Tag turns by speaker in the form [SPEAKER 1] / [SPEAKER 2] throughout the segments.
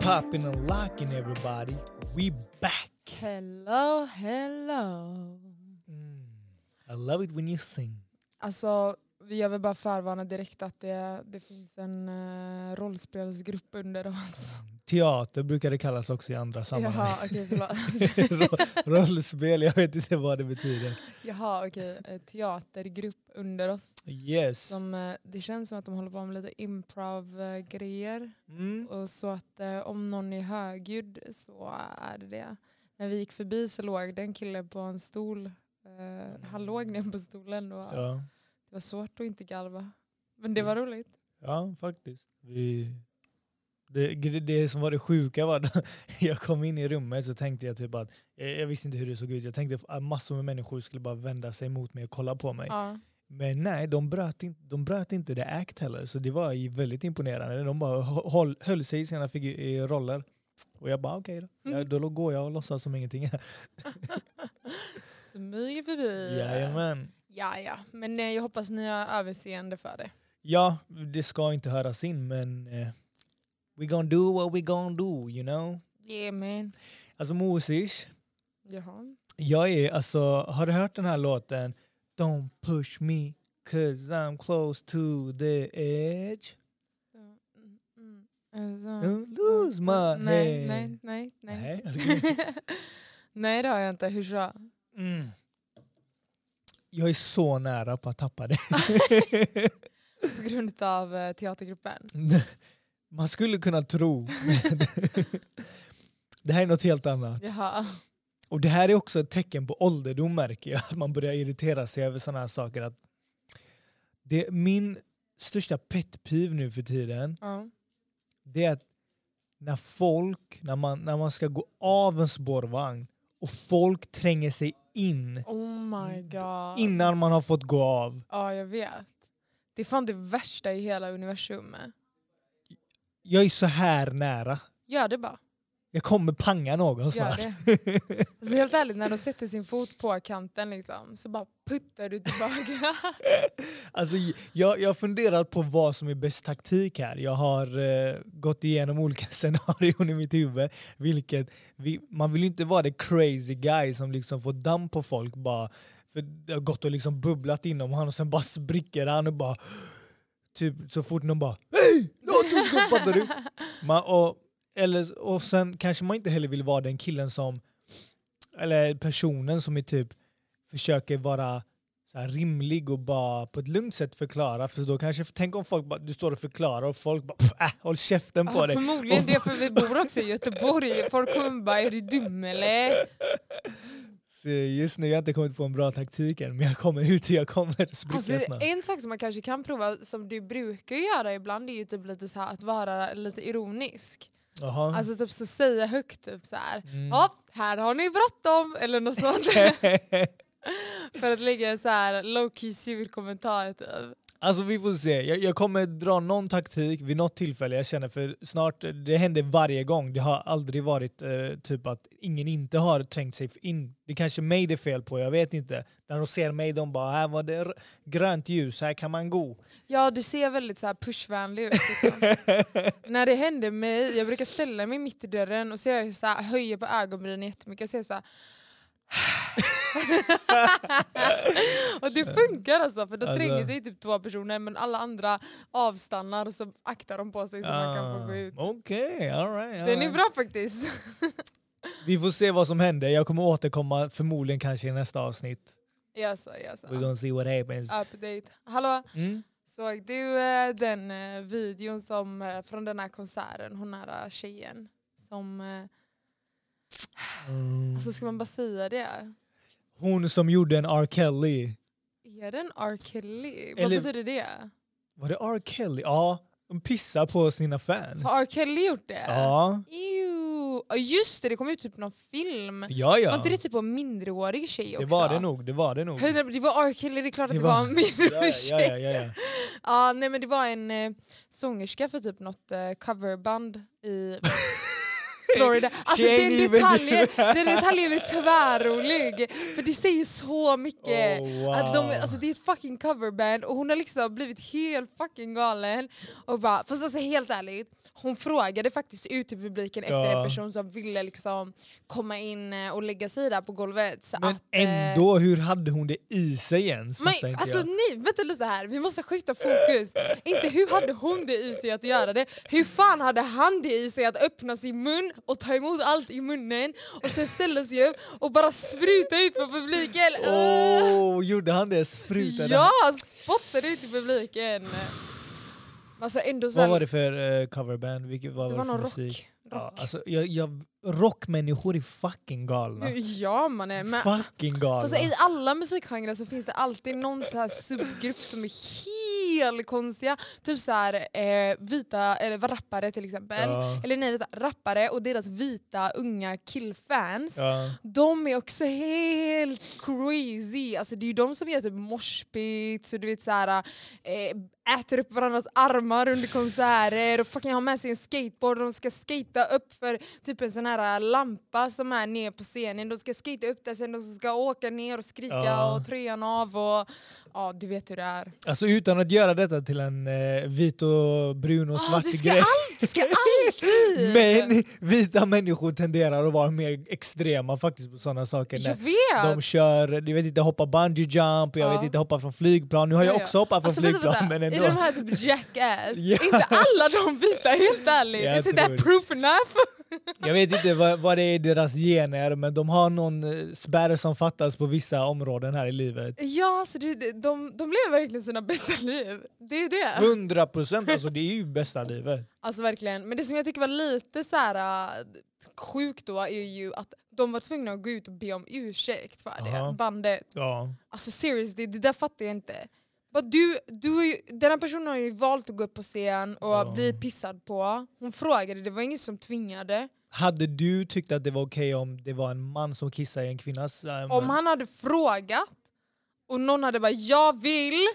[SPEAKER 1] popping and locking, everybody. We back.
[SPEAKER 2] Hello, hello.
[SPEAKER 1] I love it when you sing.
[SPEAKER 2] Alltså, jag vill bara förvarna direkt att det, det finns en eh, rollspelsgrupp under oss.
[SPEAKER 1] Teater brukar det kallas också i andra sammanhang.
[SPEAKER 2] Jaha, okej, förlåt.
[SPEAKER 1] Ro- Rollspel, jag vet inte vad det betyder.
[SPEAKER 2] Jaha, okej. Eh, Teatergrupp under oss.
[SPEAKER 1] Yes.
[SPEAKER 2] Som, eh, det känns som att de håller på med lite improv-grejer.
[SPEAKER 1] Mm.
[SPEAKER 2] Och så att eh, om någon är högljudd så är det det. När vi gick förbi så låg det en kille på en stol. Eh, han låg ner på stolen och
[SPEAKER 1] Ja.
[SPEAKER 2] det var svårt att inte galva. Men det var roligt.
[SPEAKER 1] ja, faktiskt. Vi... Det, gre- det som var det sjuka var att jag kom in i rummet så tänkte jag typ att jag, jag visste inte hur det såg ut. Jag tänkte att massor med människor skulle bara vända sig mot mig och kolla på mig.
[SPEAKER 2] Ja.
[SPEAKER 1] Men nej, de bröt, in, de bröt inte the act heller, så det var ju väldigt imponerande. De bara höll, höll sig i sina figu- i roller. Och jag bara okej då.
[SPEAKER 2] Mm.
[SPEAKER 1] Ja, då går jag och låtsas som ingenting.
[SPEAKER 2] Smyger förbi.
[SPEAKER 1] Jajamän.
[SPEAKER 2] Ja, ja. Men eh, jag hoppas ni har överseende för det.
[SPEAKER 1] Ja, det ska inte höras in men eh, we gonna do what we gonna do, you know?
[SPEAKER 2] Yeah man.
[SPEAKER 1] Alltså Moses,
[SPEAKER 2] Jaha.
[SPEAKER 1] jag är alltså, har du hört den här låten? Don't push me cause I'm close to the edge.
[SPEAKER 2] Mm, mm. Alltså,
[SPEAKER 1] Don't lose my
[SPEAKER 2] mm, nej,
[SPEAKER 1] head.
[SPEAKER 2] nej, nej,
[SPEAKER 1] Nej,
[SPEAKER 2] nej.
[SPEAKER 1] okej.
[SPEAKER 2] nej, det har jag inte. Hur så?
[SPEAKER 1] Mm. Jag är så nära på att tappa det.
[SPEAKER 2] På grund av eh, teatergruppen.
[SPEAKER 1] Man skulle kunna tro. det här är något helt annat.
[SPEAKER 2] Jaha.
[SPEAKER 1] Och det här är också ett tecken på ålderdom märker jag. Att man börjar irritera sig över sådana här saker. Att det, min största petpiv nu för tiden
[SPEAKER 2] Ja.
[SPEAKER 1] det är att när folk, när man, när man ska gå av en spårvagn och folk tränger sig in
[SPEAKER 2] Oh my
[SPEAKER 1] Mm.
[SPEAKER 2] god.
[SPEAKER 1] innan man har fått gå av.
[SPEAKER 2] Ja, jag vet. Det är fan det värsta i hela universum.
[SPEAKER 1] Jag är så här nära.
[SPEAKER 2] Gör det bara.
[SPEAKER 1] Jag kommer panga någon
[SPEAKER 2] Gör
[SPEAKER 1] snart.
[SPEAKER 2] det. Alltså, helt ärligt, när de sätter sin fot på kanten liksom, så bara puttar du tillbaka.
[SPEAKER 1] Alltså, jag, jag har funderat på vad som är bäst taktik här. Jag har eh, gått igenom olika scenarion i mitt huvud. Vilket vi, man vill ju inte vara the crazy guy som liksom får damm på folk bara för det har gått och liksom bubblat inom honom och sen bara spricker han och bara typ så fort någon bara Hej! Låt oss gå! Fattar du? Man, och, eller, och sen kanske man inte heller vill vara den killen som eller personen som är typ försöker vara så här rimlig och bara på ett lugnt sätt förklara. För då kanske, tänk om folk bara, du står och förklarar och folk bara "Pff, äh, håll käften på
[SPEAKER 2] Ja,
[SPEAKER 1] dig.
[SPEAKER 2] Förmodligen det, för vi bor också i Göteborg. Folk kommer bara, är du dum eller?
[SPEAKER 1] Så eh, Just nu har jag inte kommit på en bra taktik än men jag kommer ut och jag kommer spricka
[SPEAKER 2] Alltså,
[SPEAKER 1] snart.
[SPEAKER 2] en sak som man kanske kan prova, som du brukar göra ibland, är ju typ lite så här, att vara lite ironisk.
[SPEAKER 1] Jaha.
[SPEAKER 2] Alltså typ så säga högt, typ så här.
[SPEAKER 1] Mm.
[SPEAKER 2] Ja, här har ni bråttom! Eller något sånt. för att lägga en så här low key sur kommentar typ.
[SPEAKER 1] Alltså vi får se. Jag, jag kommer dra någon taktik vid något tillfälle. Jag känner för snart, eh, det händer varje gång. Det har aldrig varit eh, typ att ingen inte har trängt sig in. Det kanske är mig det är fel på, jag vet inte. När de ser mig de bara här var det r- grönt ljus, här kan man gå.
[SPEAKER 2] Ja, du ser väldigt så här pushvänlig ut. Liksom. När det händer mig, jag brukar ställa mig mitt i dörren och så, gör jag så här, höjer på ögonbrynen jättemycket och säger så här. och det funkar alltså för då
[SPEAKER 1] Alltså.
[SPEAKER 2] tränger sig typ två personer men alla andra avstannar och så aktar de på sig så man kan få gå ut.
[SPEAKER 1] Ah, Okej, alright. All
[SPEAKER 2] Den är
[SPEAKER 1] right.
[SPEAKER 2] bra faktiskt.
[SPEAKER 1] Vi får se vad som händer. Jag kommer återkomma förmodligen kanske i nästa avsnitt.
[SPEAKER 2] Jag sa, jag
[SPEAKER 1] We're
[SPEAKER 2] sa.
[SPEAKER 1] gonna see what happens.
[SPEAKER 2] Update. Hallå,
[SPEAKER 1] Mm?
[SPEAKER 2] såg du eh, den eh, videon som, eh, från den här konserten, hon här eh, tjejen? Som, eh,
[SPEAKER 1] Mm.
[SPEAKER 2] alltså ska man bara säga det?
[SPEAKER 1] Hon som gjorde en R. Kelly.
[SPEAKER 2] Är den R. Kelly? Vad
[SPEAKER 1] Eller-
[SPEAKER 2] betyder det?
[SPEAKER 1] Var det R. Kelly? Ja, de pissar på sina fans.
[SPEAKER 2] Har R. Kelly gjort det?
[SPEAKER 1] Ja,
[SPEAKER 2] Ew. Ja, Just det, det kom ut typ någon film.
[SPEAKER 1] ja. ja.
[SPEAKER 2] Var inte det typ en mindreårig tjej också?
[SPEAKER 1] det var det nog. Det var det nog.
[SPEAKER 2] Höjden- Det var R. Kelly, det är klart att
[SPEAKER 1] Det
[SPEAKER 2] det, var,
[SPEAKER 1] var-
[SPEAKER 2] en mindreårig
[SPEAKER 1] ja,
[SPEAKER 2] tjej.
[SPEAKER 1] ja, ja, ja.
[SPEAKER 2] Ja, nej men det var en eh, sångerska för typ något eh, coverband i... Florida. Alltså
[SPEAKER 1] She ain't
[SPEAKER 2] den
[SPEAKER 1] even
[SPEAKER 2] detaljen, den detaljen är tvärrolig. För det säger så mycket.
[SPEAKER 1] Oh, wow.
[SPEAKER 2] Att de, alltså det är ett fucking coverband och hon har liksom blivit helt fucking galen. Och bara, fast alltså helt ärligt, hon frågade faktiskt ut i publiken efter
[SPEAKER 1] Ja.
[SPEAKER 2] en person som ville liksom komma in eh, och lägga sig där på golvet. Så
[SPEAKER 1] Men
[SPEAKER 2] att, eh,
[SPEAKER 1] ändå, hur hade hon det i sig ens? fattar
[SPEAKER 2] men,
[SPEAKER 1] inte
[SPEAKER 2] alltså
[SPEAKER 1] jag.
[SPEAKER 2] nej, vänta lite här, vi måste skifta fokus. Inte hur hade hon det i sig att göra det, hur fan hade han det i sig att öppna sin mun och ta emot allt i munnen och sen ställa sig upp och bara spruta ut på publiken. Ah,
[SPEAKER 1] Åh, gjorde han det? Sprutade
[SPEAKER 2] ja,
[SPEAKER 1] han?
[SPEAKER 2] spottade ut i publiken. Men Alltså ändå så här,
[SPEAKER 1] Vad var det för eh, coverband? Vilket, vad
[SPEAKER 2] det
[SPEAKER 1] var
[SPEAKER 2] var
[SPEAKER 1] det för
[SPEAKER 2] någon
[SPEAKER 1] musik?
[SPEAKER 2] rock.
[SPEAKER 1] Ja,
[SPEAKER 2] rock.
[SPEAKER 1] alltså, jag, jag, rockmänniskor är fucking galna.
[SPEAKER 2] Ja mannen, men
[SPEAKER 1] Fucking galna.
[SPEAKER 2] Fast i alla musikgenrer så finns det alltid någon så här subgrupp som är helt konstiga. Typ så här, eh, vita eller vad, rappare till exempel.
[SPEAKER 1] Ja.
[SPEAKER 2] Eller nej, vänta, rappare och deras vita unga killfans.
[SPEAKER 1] ja.
[SPEAKER 2] De är också helt crazy. Alltså, det är ju de som gör typ moshpits och du vet så här, eh, äter upp varandras armar under konserter och fucking har med sig en skateboard och de ska skata upp för typ en sån här lampa som är ner på scenen. De ska skata upp där sen de ska åka ner och skrika
[SPEAKER 1] Ja.
[SPEAKER 2] och tröjan av och ja, du vet hur det är.
[SPEAKER 1] Alltså utan att göra detta till en eh, vit och brun och
[SPEAKER 2] Ah,
[SPEAKER 1] svart
[SPEAKER 2] du ska
[SPEAKER 1] grej.
[SPEAKER 2] allt, du ska alltid!
[SPEAKER 1] Men vita människor tenderar att vara mer extrema faktiskt på sådana saker.
[SPEAKER 2] jag
[SPEAKER 1] När
[SPEAKER 2] vet!
[SPEAKER 1] de kör, jag vet inte, hoppa bungee jump, jag
[SPEAKER 2] Ja.
[SPEAKER 1] vet inte, hoppa från flygplan. Nu har jag
[SPEAKER 2] Ja, ja.
[SPEAKER 1] också hoppat från
[SPEAKER 2] Alltså, vänta,
[SPEAKER 1] flygplan
[SPEAKER 2] vänta.
[SPEAKER 1] men
[SPEAKER 2] Är
[SPEAKER 1] ändå.
[SPEAKER 2] det de här typ jackass?
[SPEAKER 1] Ja.
[SPEAKER 2] Är inte alla de vita helt ärligt?
[SPEAKER 1] Jag
[SPEAKER 2] Is it that
[SPEAKER 1] tror det.
[SPEAKER 2] proof enough?
[SPEAKER 1] Jag vet inte vad, vad det är i deras gener men de har någon eh, spärr som fattas på vissa områden här i livet.
[SPEAKER 2] Ja, så det, det- de, de lever verkligen sina bästa liv. Det är det.
[SPEAKER 1] 100 procent alltså, det är ju bästa livet.
[SPEAKER 2] Alltså verkligen. Men det som jag tycker var lite så här äh, sjukt då är ju att de var tvungna att gå ut och be om ursäkt för det.
[SPEAKER 1] Aha.
[SPEAKER 2] Bandet.
[SPEAKER 1] Ja.
[SPEAKER 2] Alltså seriously, det där fattar jag inte. Bara Du, du, är ju- den här personen har ju valt att gå upp på scen och
[SPEAKER 1] Ja.
[SPEAKER 2] bli pissad på. Hon frågade, det var ingen som tvingade.
[SPEAKER 1] Hade du tyckt att det var okej om det var en man som kissade i en kvinnas... eh,
[SPEAKER 2] Om han hade frågat och någon hade bara “jag vill”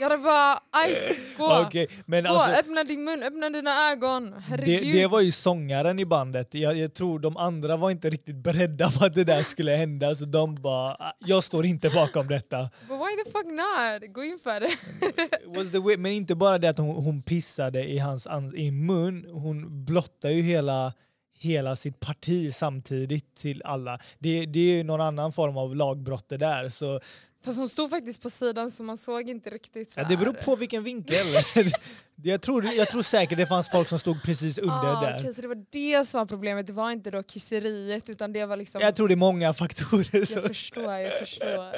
[SPEAKER 2] Jag hade bara “aj, gå,
[SPEAKER 1] Okej, men
[SPEAKER 2] gå
[SPEAKER 1] alltså,
[SPEAKER 2] öppna din mun, öppna dina ögon,
[SPEAKER 1] det,
[SPEAKER 2] herregud”.
[SPEAKER 1] det var ju sångaren i bandet. Jag, jag tror de andra var inte riktigt beredda på att det där skulle hända så de bara "Ah, “jag står inte bakom detta”.
[SPEAKER 2] But why the fuck not? Gå in för det.
[SPEAKER 1] Was the way, men inte bara det att hon, hon pissade i hans an, i mun, hon blottar ju hela, hela sitt parti samtidigt till alla. Det, det är ju någon annan form av lagbrott det där. Så,
[SPEAKER 2] Fast hon stod faktiskt på sidan så man såg inte riktigt. Så
[SPEAKER 1] ja, det beror
[SPEAKER 2] här.
[SPEAKER 1] på vilken vinkel. jag, tror, jag tror säkert det fanns folk som stod precis under
[SPEAKER 2] Ah,
[SPEAKER 1] där.
[SPEAKER 2] okej, så det var det som var problemet, det var inte då kisseriet utan det var liksom...
[SPEAKER 1] Jag tror det är många faktorer.
[SPEAKER 2] jag
[SPEAKER 1] Som,
[SPEAKER 2] förstår, jag förstår.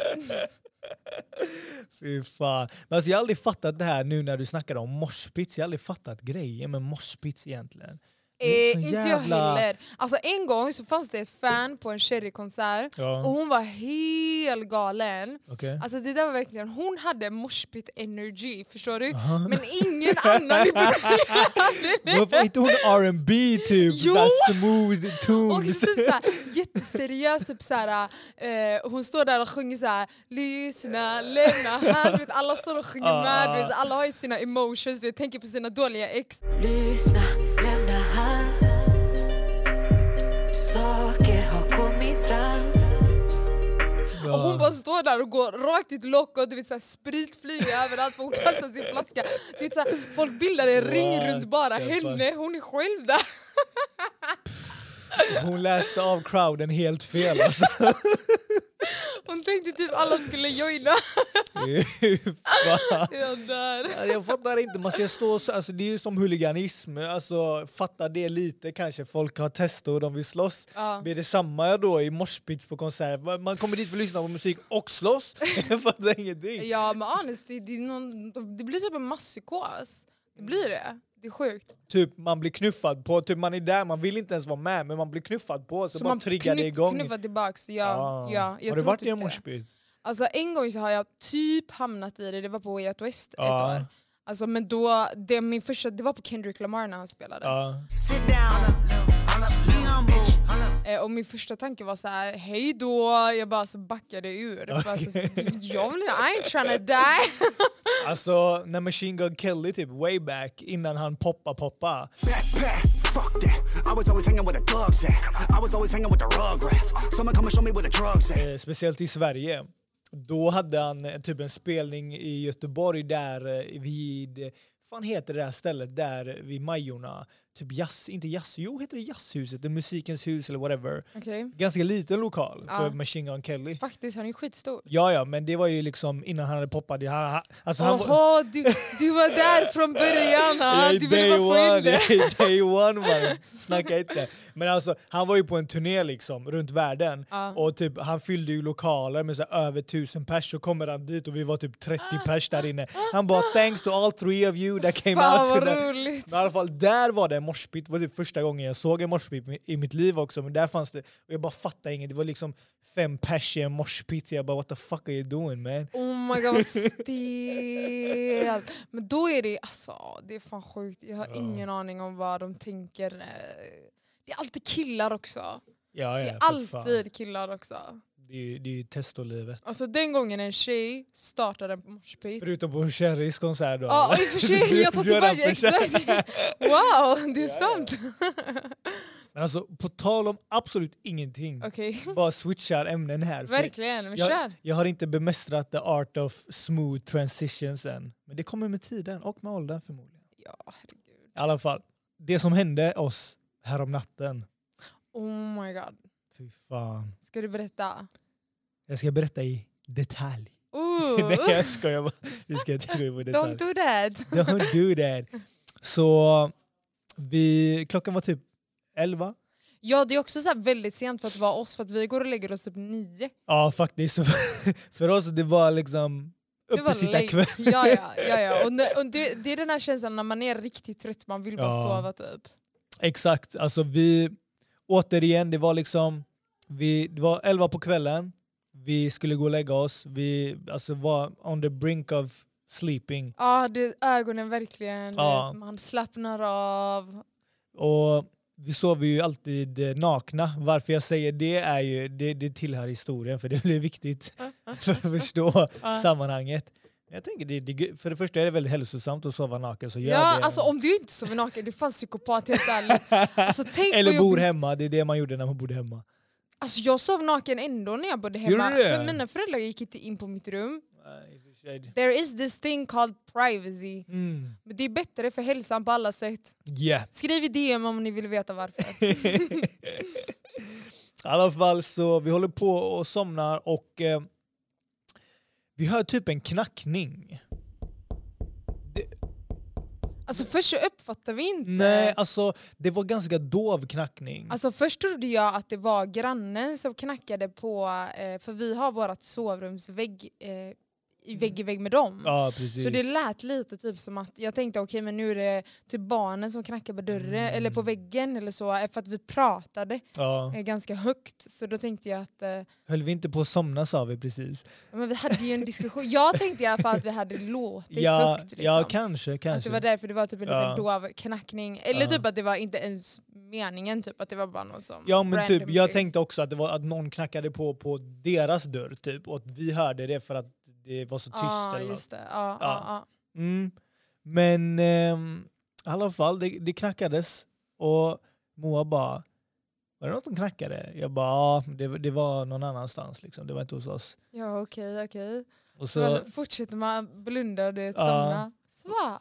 [SPEAKER 1] Fy fan. Men alltså, jag har aldrig fattat det här nu när du snackade om moshpits. Jag har aldrig fattat grejen med moshpits egentligen. Det är
[SPEAKER 2] Eh,
[SPEAKER 1] så
[SPEAKER 2] inte jag
[SPEAKER 1] jävla-
[SPEAKER 2] heller. Alltså en gång så fanns det ett fan på en Cherry-konsert och
[SPEAKER 1] Ja,
[SPEAKER 2] hon var helt galen.
[SPEAKER 1] okej.
[SPEAKER 2] Alltså det där var verkligen, hon hade moshpit energy, förstår du?
[SPEAKER 1] Aha.
[SPEAKER 2] Men ingen annan i publiken hade det.
[SPEAKER 1] Varför inte hon R&B typ?
[SPEAKER 2] Jo!
[SPEAKER 1] Såhär smooth
[SPEAKER 2] Och
[SPEAKER 1] tunes.
[SPEAKER 2] så typ såhär, jätteseriös, typ såhär, eh, hon står där och sjunger såhär “lyssna, lämna här”. Du vet, alla står och sjunger med, du vet, alla har ju sina emotions, jag tänker på sina dåliga ex.
[SPEAKER 3] Lyssna, lämna här Saker har kommit fram
[SPEAKER 2] Och
[SPEAKER 1] Ah.
[SPEAKER 2] hon bara står där och går rakt i ett lock och du vet, såhär, sprit flyger överallt för hon kastar sin flaska. Du vet, såhär, folk bildar en ring
[SPEAKER 1] What
[SPEAKER 2] runt bara
[SPEAKER 1] the fuck?
[SPEAKER 2] henne, hon är själv där.
[SPEAKER 1] Hon läste av crowden helt fel alltså.
[SPEAKER 2] Hon tänkte typ alla skulle joina.
[SPEAKER 1] Fy fan.
[SPEAKER 2] Jag dör.
[SPEAKER 1] Alltså, Jag fattar inte, man ska stå så, alltså, det är ju som huliganism, alltså, fatta det lite kanske, folk har tester och de vill slåss.
[SPEAKER 2] Ja.
[SPEAKER 1] Blir det samma då i morspits på konsert? Va- Man kommer dit för att lyssna på musik och slåss? Jag fattar ingenting.
[SPEAKER 2] Ja men honestly, det, är någon, det blir typ en masspsykos. Det blir det. Det är sjukt.
[SPEAKER 1] Typ man blir knuffad på, typ man är där, man vill inte ens vara med men man blir knuffad på så,
[SPEAKER 2] Så
[SPEAKER 1] bara
[SPEAKER 2] man
[SPEAKER 1] triggar det
[SPEAKER 2] knuff-
[SPEAKER 1] igång.
[SPEAKER 2] knuffar tillbaks. Ja,
[SPEAKER 1] Ah.
[SPEAKER 2] ja, jag
[SPEAKER 1] har du
[SPEAKER 2] tror
[SPEAKER 1] varit
[SPEAKER 2] typ
[SPEAKER 1] i en
[SPEAKER 2] det.
[SPEAKER 1] morspits?
[SPEAKER 2] Alltså en gång så har jag typ hamnat i det, det var på Way Out West
[SPEAKER 1] Ja.
[SPEAKER 2] ett år. Alltså, men då, det, min första, det var på Kendrick Lamar när han spelade.
[SPEAKER 1] Ja.
[SPEAKER 3] Sit down
[SPEAKER 2] Eh, och min första tanke var så här: hej då, jag bara så backade ur. För att, alltså, jag vill, I ain't tryna die.
[SPEAKER 1] Alltså när Machine Gun Kelly typ way back innan han poppa poppa.
[SPEAKER 4] backpack Fuck that. I was always hanging with the thugs at. I was always hanging with the rugrats. Someone come and show me where the drugs at.
[SPEAKER 1] eh, speciellt i Sverige. Då hade han eh, typ en spelning i Göteborg där eh, vid, eh, fan heter det där stället där eh, vid Majorna? Typ jazz, inte jazz, jo heter det jazzhuset, det är musikens hus eller whatever.
[SPEAKER 2] Okej.
[SPEAKER 1] Ganska liten lokal för
[SPEAKER 2] Ja.
[SPEAKER 1] Machine Gun Kelly.
[SPEAKER 2] Faktiskt, han är skitstor. ja
[SPEAKER 1] Ja, ja, men det var ju liksom innan han hade poppat. Han, han- alltså han var,
[SPEAKER 2] Jaha, du, du var där från början!
[SPEAKER 1] Jag
[SPEAKER 2] ha?
[SPEAKER 1] är
[SPEAKER 2] Du ville bara få in
[SPEAKER 1] one,
[SPEAKER 2] det.
[SPEAKER 1] jag är day one man. Snacka inte. Men alltså, han var ju på en turné liksom, runt världen.
[SPEAKER 2] Ja.
[SPEAKER 1] Och typ, han fyllde ju lokaler med så här, över tusen pers. Så kommer han dit och vi var typ 30 pers där inne. Han bara “thanks to all three of you that came
[SPEAKER 2] Fan
[SPEAKER 1] out
[SPEAKER 2] vad
[SPEAKER 1] tonight."
[SPEAKER 2] roligt!
[SPEAKER 1] Men i alla fall, där var det en moshpit. Det var typ första gången jag såg en moshpit i- i mitt liv också. Men där fanns det, och jag bara fattade inget. Det var liksom fem pers i en moshpit. Så jag bara “what the fuck are you doing man?”
[SPEAKER 2] Oh my god vad stelt! Men då är det, alltså det är fan sjukt. Jag har ingen aning om vad de tänker. eh. Det är alltid killar också.
[SPEAKER 1] Ja, ja,
[SPEAKER 2] Det är
[SPEAKER 1] för fan.
[SPEAKER 2] alltid killar också.
[SPEAKER 1] Det är ju- det är ju testolivet.
[SPEAKER 2] Alltså den gången en tjej startade en moshpit.
[SPEAKER 1] Förutom på Cherries konsert då.
[SPEAKER 2] Ja och i och för sig, jag tar
[SPEAKER 1] Du har
[SPEAKER 2] tillbaka
[SPEAKER 1] den första.
[SPEAKER 2] exakt! Wow, det är sant!
[SPEAKER 1] Men alltså, på tal om absolut ingenting.
[SPEAKER 2] Okej,
[SPEAKER 1] Bara switchar ämnen här. för
[SPEAKER 2] verkligen. Men
[SPEAKER 1] Jag,
[SPEAKER 2] kör!
[SPEAKER 1] jag har inte bemästrat the art of smooth transitions än. Men det kommer med tiden och med åldern förmodligen.
[SPEAKER 2] Ja, herregud.
[SPEAKER 1] I alla fall, det som hände oss härom natten.
[SPEAKER 2] Oh my god.
[SPEAKER 1] Fy fan.
[SPEAKER 2] Ska du berätta?
[SPEAKER 1] Jag ska berätta i detalj.
[SPEAKER 2] Ooh,
[SPEAKER 1] Nej jag skojar bara. Vi ska inte gå in på
[SPEAKER 2] Oh. don't
[SPEAKER 1] detalj.
[SPEAKER 2] do that!
[SPEAKER 1] Don't do that. Så vi, klockan var typ 11.
[SPEAKER 2] Ja det är också så här väldigt sent för att vara oss för att vi går och lägger oss typ nio.
[SPEAKER 1] Ja faktiskt. Så för oss det var liksom
[SPEAKER 2] Det var
[SPEAKER 1] uppesittarkväll.
[SPEAKER 2] late. Ja, ja, ja, ja. Och, när, och det, det är den här känslan när man är riktigt trött, man vill bara
[SPEAKER 1] Ja.
[SPEAKER 2] sova typ.
[SPEAKER 1] Exakt, alltså vi, återigen det var liksom, vi, det var 11 på kvällen, vi skulle gå och lägga oss, vi alltså, var on the brink of sleeping.
[SPEAKER 2] Ja, det, ögonen verkligen,
[SPEAKER 1] Ja.
[SPEAKER 2] eh, man slappnar av.
[SPEAKER 1] Och vi sover ju alltid eh, nakna, varför jag säger det är ju, det, det tillhör historien för det blir viktigt för att förstå sammanhanget. Jag tänker det, det, för det första är det väldigt hälsosamt att sova naken så gör
[SPEAKER 2] Ja,
[SPEAKER 1] det.
[SPEAKER 2] alltså om du inte sover naken, du är fan psykopat helt ärligt. Alltså, tänk vad
[SPEAKER 1] Eller bor
[SPEAKER 2] jobbigt.
[SPEAKER 1] hemma, det är det man gjorde när man bodde hemma.
[SPEAKER 2] Alltså, jag sov naken ändå när jag bodde
[SPEAKER 1] Gjorde
[SPEAKER 2] hemma,
[SPEAKER 1] du det?
[SPEAKER 2] för mina föräldrar gick inte in på mitt rum. There is this thing called privacy.
[SPEAKER 1] Mm.
[SPEAKER 2] Men det är bättre för hälsan på alla sätt.
[SPEAKER 1] Yeah.
[SPEAKER 2] Skriv i DM om ni vill veta varför.
[SPEAKER 1] I alla fall så vi håller på och somnar och eh, vi hör typ en knackning.
[SPEAKER 2] Alltså först så uppfattar vi inte.
[SPEAKER 1] Nej, alltså det var ganska dov knackning.
[SPEAKER 2] Alltså först trodde jag att det var grannen som knackade på, eh, för vi har vårt sovrumsvägg eh, i vägg i vägg med dem.
[SPEAKER 1] Mm. ja, precis.
[SPEAKER 2] Så det lät lite typ som att jag tänkte okej men nu är det typ barnen som knackar på dörren eller
[SPEAKER 1] Mm.
[SPEAKER 2] på väggen eller så eh, för att vi pratade
[SPEAKER 1] ja.
[SPEAKER 2] eh, ganska högt så då tänkte jag att eh,
[SPEAKER 1] Höll vi inte på att somna sa vi precis.
[SPEAKER 2] men vi hade ju en diskussion. Jag tänkte i alla fall att vi hade låtit
[SPEAKER 1] Ja,
[SPEAKER 2] högt. Liksom.
[SPEAKER 1] ja, kanske,
[SPEAKER 2] Att det
[SPEAKER 1] kanske.
[SPEAKER 2] var därför det var typ en
[SPEAKER 1] Ja.
[SPEAKER 2] liten dov knackning. Eller
[SPEAKER 1] Ja.
[SPEAKER 2] typ att det var inte ens meningen, typ att det var bara någon som...
[SPEAKER 1] Ja men typ,
[SPEAKER 2] randomly-
[SPEAKER 1] jag tänkte också att det var att någon knackade på på deras dörr typ och att vi hörde det för att det var så tyst.
[SPEAKER 2] Ja,
[SPEAKER 1] eller något.
[SPEAKER 2] Ah, just det. Ja,
[SPEAKER 1] Ja.
[SPEAKER 2] ja. Ja,
[SPEAKER 1] Mm. Men ehm, i alla fall, det, det knackades och Moa bara var det något som knackade? Jag bara ja, det, det var någon annanstans liksom, det var inte hos oss.
[SPEAKER 2] ja okej, okej.
[SPEAKER 1] Och så,
[SPEAKER 2] Så fortsätter man blunda och du vet,
[SPEAKER 1] Ja.
[SPEAKER 2] somna. Så va?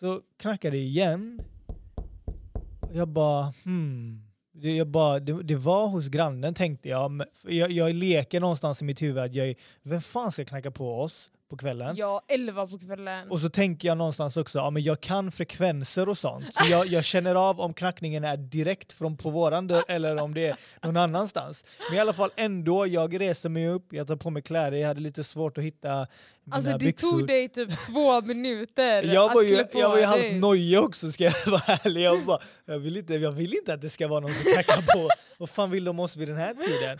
[SPEAKER 1] så knackade det igen. Och Jag bara hmm. Det, jag bara, det, det var hos grannen tänkte jag. men- för jag. Jag leker någonstans i mitt huvud att jag är, vem fan ska knacka på oss på kvällen?
[SPEAKER 2] Ja, elva på kvällen.
[SPEAKER 1] Mm. Och så tänker jag någonstans också, ja men jag kan frekvenser och sånt. Så jag, jag känner av om knackningen är direkt från på våran dörr eller om det är någon annanstans. Men i alla fall ändå, jag reser mig upp, jag tar på mig kläder, jag hade lite svårt att hitta mina
[SPEAKER 2] Alltså det
[SPEAKER 1] byxor.
[SPEAKER 2] tog dig typ två minuter
[SPEAKER 1] jag var,
[SPEAKER 2] att
[SPEAKER 1] ju,
[SPEAKER 2] klä på
[SPEAKER 1] jag var ju halvt
[SPEAKER 2] dig.
[SPEAKER 1] nojig också ska jag vara ärlig. Jag, bara, jag, vill inte, jag vill inte att det ska vara någon som knackar på. Vad fan vill de oss vid den här tiden?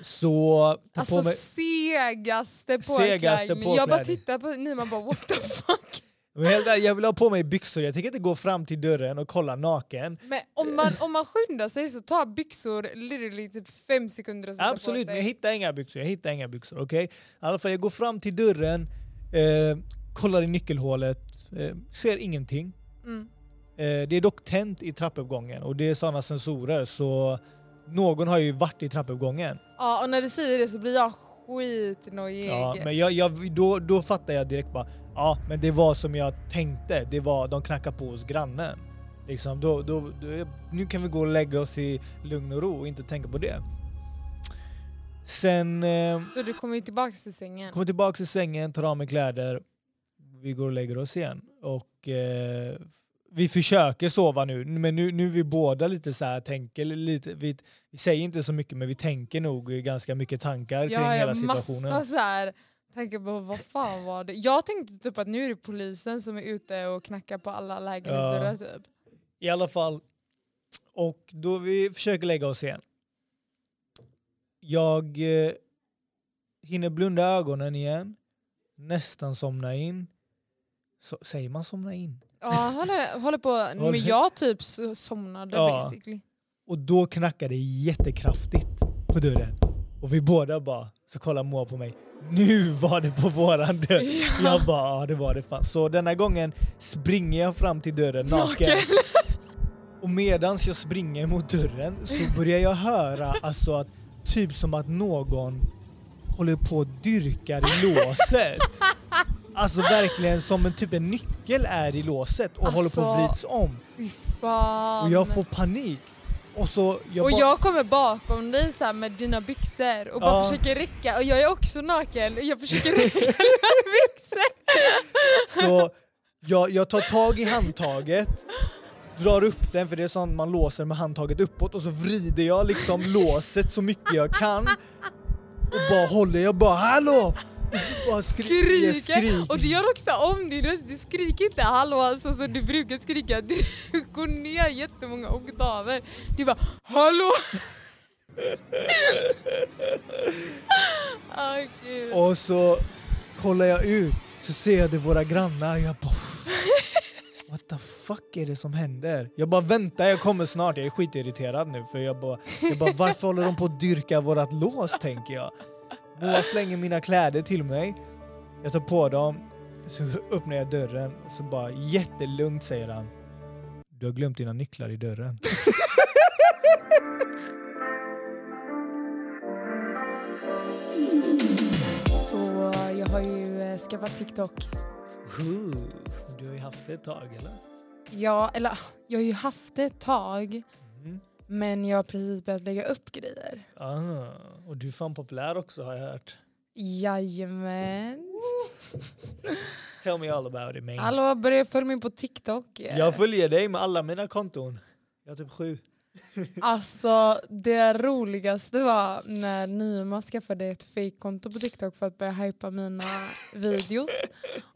[SPEAKER 1] Så... ta
[SPEAKER 2] Alltså
[SPEAKER 1] på mig.
[SPEAKER 2] segaste påklädning.
[SPEAKER 1] Segaste
[SPEAKER 2] Jag bara
[SPEAKER 1] påklädning.
[SPEAKER 2] tittar på Nima och bara what the fuck.
[SPEAKER 1] Men helt ärligt, jag vill ha på mig byxor, jag tänker inte gå fram till dörren och kolla naken.
[SPEAKER 2] Men om man, om man skyndar sig så tar byxor literally typ fem sekunder att sätta
[SPEAKER 1] Absolut, men
[SPEAKER 2] på sig.
[SPEAKER 1] jag hittar inga byxor. Jag hittar inga byxor, okej? I alla fall, jag går fram till dörren, eh, kollar i nyckelhålet, eh, ser ingenting.
[SPEAKER 2] Mm.
[SPEAKER 1] Eh, Det är dock tänt i trappuppgången och det är sådana sensorer så någon har ju varit i trappuppgången.
[SPEAKER 2] Ja, och när du säger det så blir jag skitnojig.
[SPEAKER 1] Ja, men jag, jag, då, då fattar jag direkt bara, ja men det var som jag tänkte, det var de knackade på hos grannen. Liksom, då, då, då, nu kan vi gå och lägga oss i lugn och ro och inte tänka på det. Sen eh,
[SPEAKER 2] Så du kommer ju tillbaka till sängen.
[SPEAKER 1] kommer tillbaka till sängen, tar av mig kläder, vi går och lägger oss igen. Och eh, vi försöker sova nu, men nu, nu är vi båda lite så här, tänker lite, vi, vi säger inte så mycket men vi tänker nog ganska mycket tankar kring
[SPEAKER 2] Jag har
[SPEAKER 1] hela
[SPEAKER 2] ju
[SPEAKER 1] situationen.
[SPEAKER 2] massa så här tankar på vad fan var det? Jag tänkte typ att nu är det polisen som är ute och knackar på alla lägenhetsdörrar typ.
[SPEAKER 1] I alla fall. Och då vi försöker lägga oss igen. Jag eh, hinner blunda ögonen igen. Nästan somna in. Så, säger man somna in?
[SPEAKER 2] Ja, han håller, håller på.
[SPEAKER 1] Håller-
[SPEAKER 2] Men jag typ så- somnade
[SPEAKER 1] Ja.
[SPEAKER 2] basically.
[SPEAKER 1] Och då knackar det jättekraftigt på dörren. Och vi båda bara, så kollar Moa på mig. Nu var det på våran dörr! Jag bara, ja det var det fan. Så denna gången springer jag fram till dörren naken. Och medans jag springer mot dörren så börjar jag höra alltså att typ som att någon håller på och dyrkar i låset. Alltså verkligen som en typ en nyckel är i låset och håller på och
[SPEAKER 2] Alltså,
[SPEAKER 1] vrids om.
[SPEAKER 2] Fan.
[SPEAKER 1] Och jag får panik. Och så jag
[SPEAKER 2] och
[SPEAKER 1] bara-
[SPEAKER 2] jag kommer bakom dig så här med dina byxor och bara
[SPEAKER 1] Ja.
[SPEAKER 2] försöker räcka. Och jag är också naken och jag försöker räcka dina byxor.
[SPEAKER 1] Så jag, jag tar tag i handtaget, drar upp den för det är sånt man låser med handtaget uppåt och så vrider jag liksom låset så mycket jag kan och bara håller, jag bara hallå! Och så bara skri- jag
[SPEAKER 2] Skriker. Och du gör också om din röst. Du skriker inte hallå alltså som du brukar skrika. Du går ner jättemånga oktaver. Du bara hallå! Åh gud.
[SPEAKER 1] Och så kollar jag ut så ser jag det våra grannar. Jag bara... What the fuck är det som händer? Jag bara vänta, jag kommer snart. Jag är skitirriterad nu för jag bara, jag bara varför håller de på att dyrka vårat lås tänker jag. Moa slänger mina kläder till mig. Jag tar på dem, så öppnar jag dörren och så bara jättelugnt säger han. Du har glömt dina nycklar i dörren.
[SPEAKER 2] Så jag har ju eh, skaffat TikTok.
[SPEAKER 1] Ooh, Du har ju haft det ett tag eller?
[SPEAKER 2] Ja, eller ah, jag har ju haft det ett tag.
[SPEAKER 1] Mm.
[SPEAKER 2] Men jag har precis börjat lägga upp grejer.
[SPEAKER 1] Ah, och du är fan populär också har jag hört.
[SPEAKER 2] Jajamän.
[SPEAKER 1] Tell me all about it man.
[SPEAKER 2] Hallå, börja följa mig på TikTok.
[SPEAKER 1] Jag följer dig med alla mina konton. Jag har typ sju.
[SPEAKER 2] Alltså det roligaste var när Nima skaffade ett fejkkonto på TikTok för att börja hypa mina videos.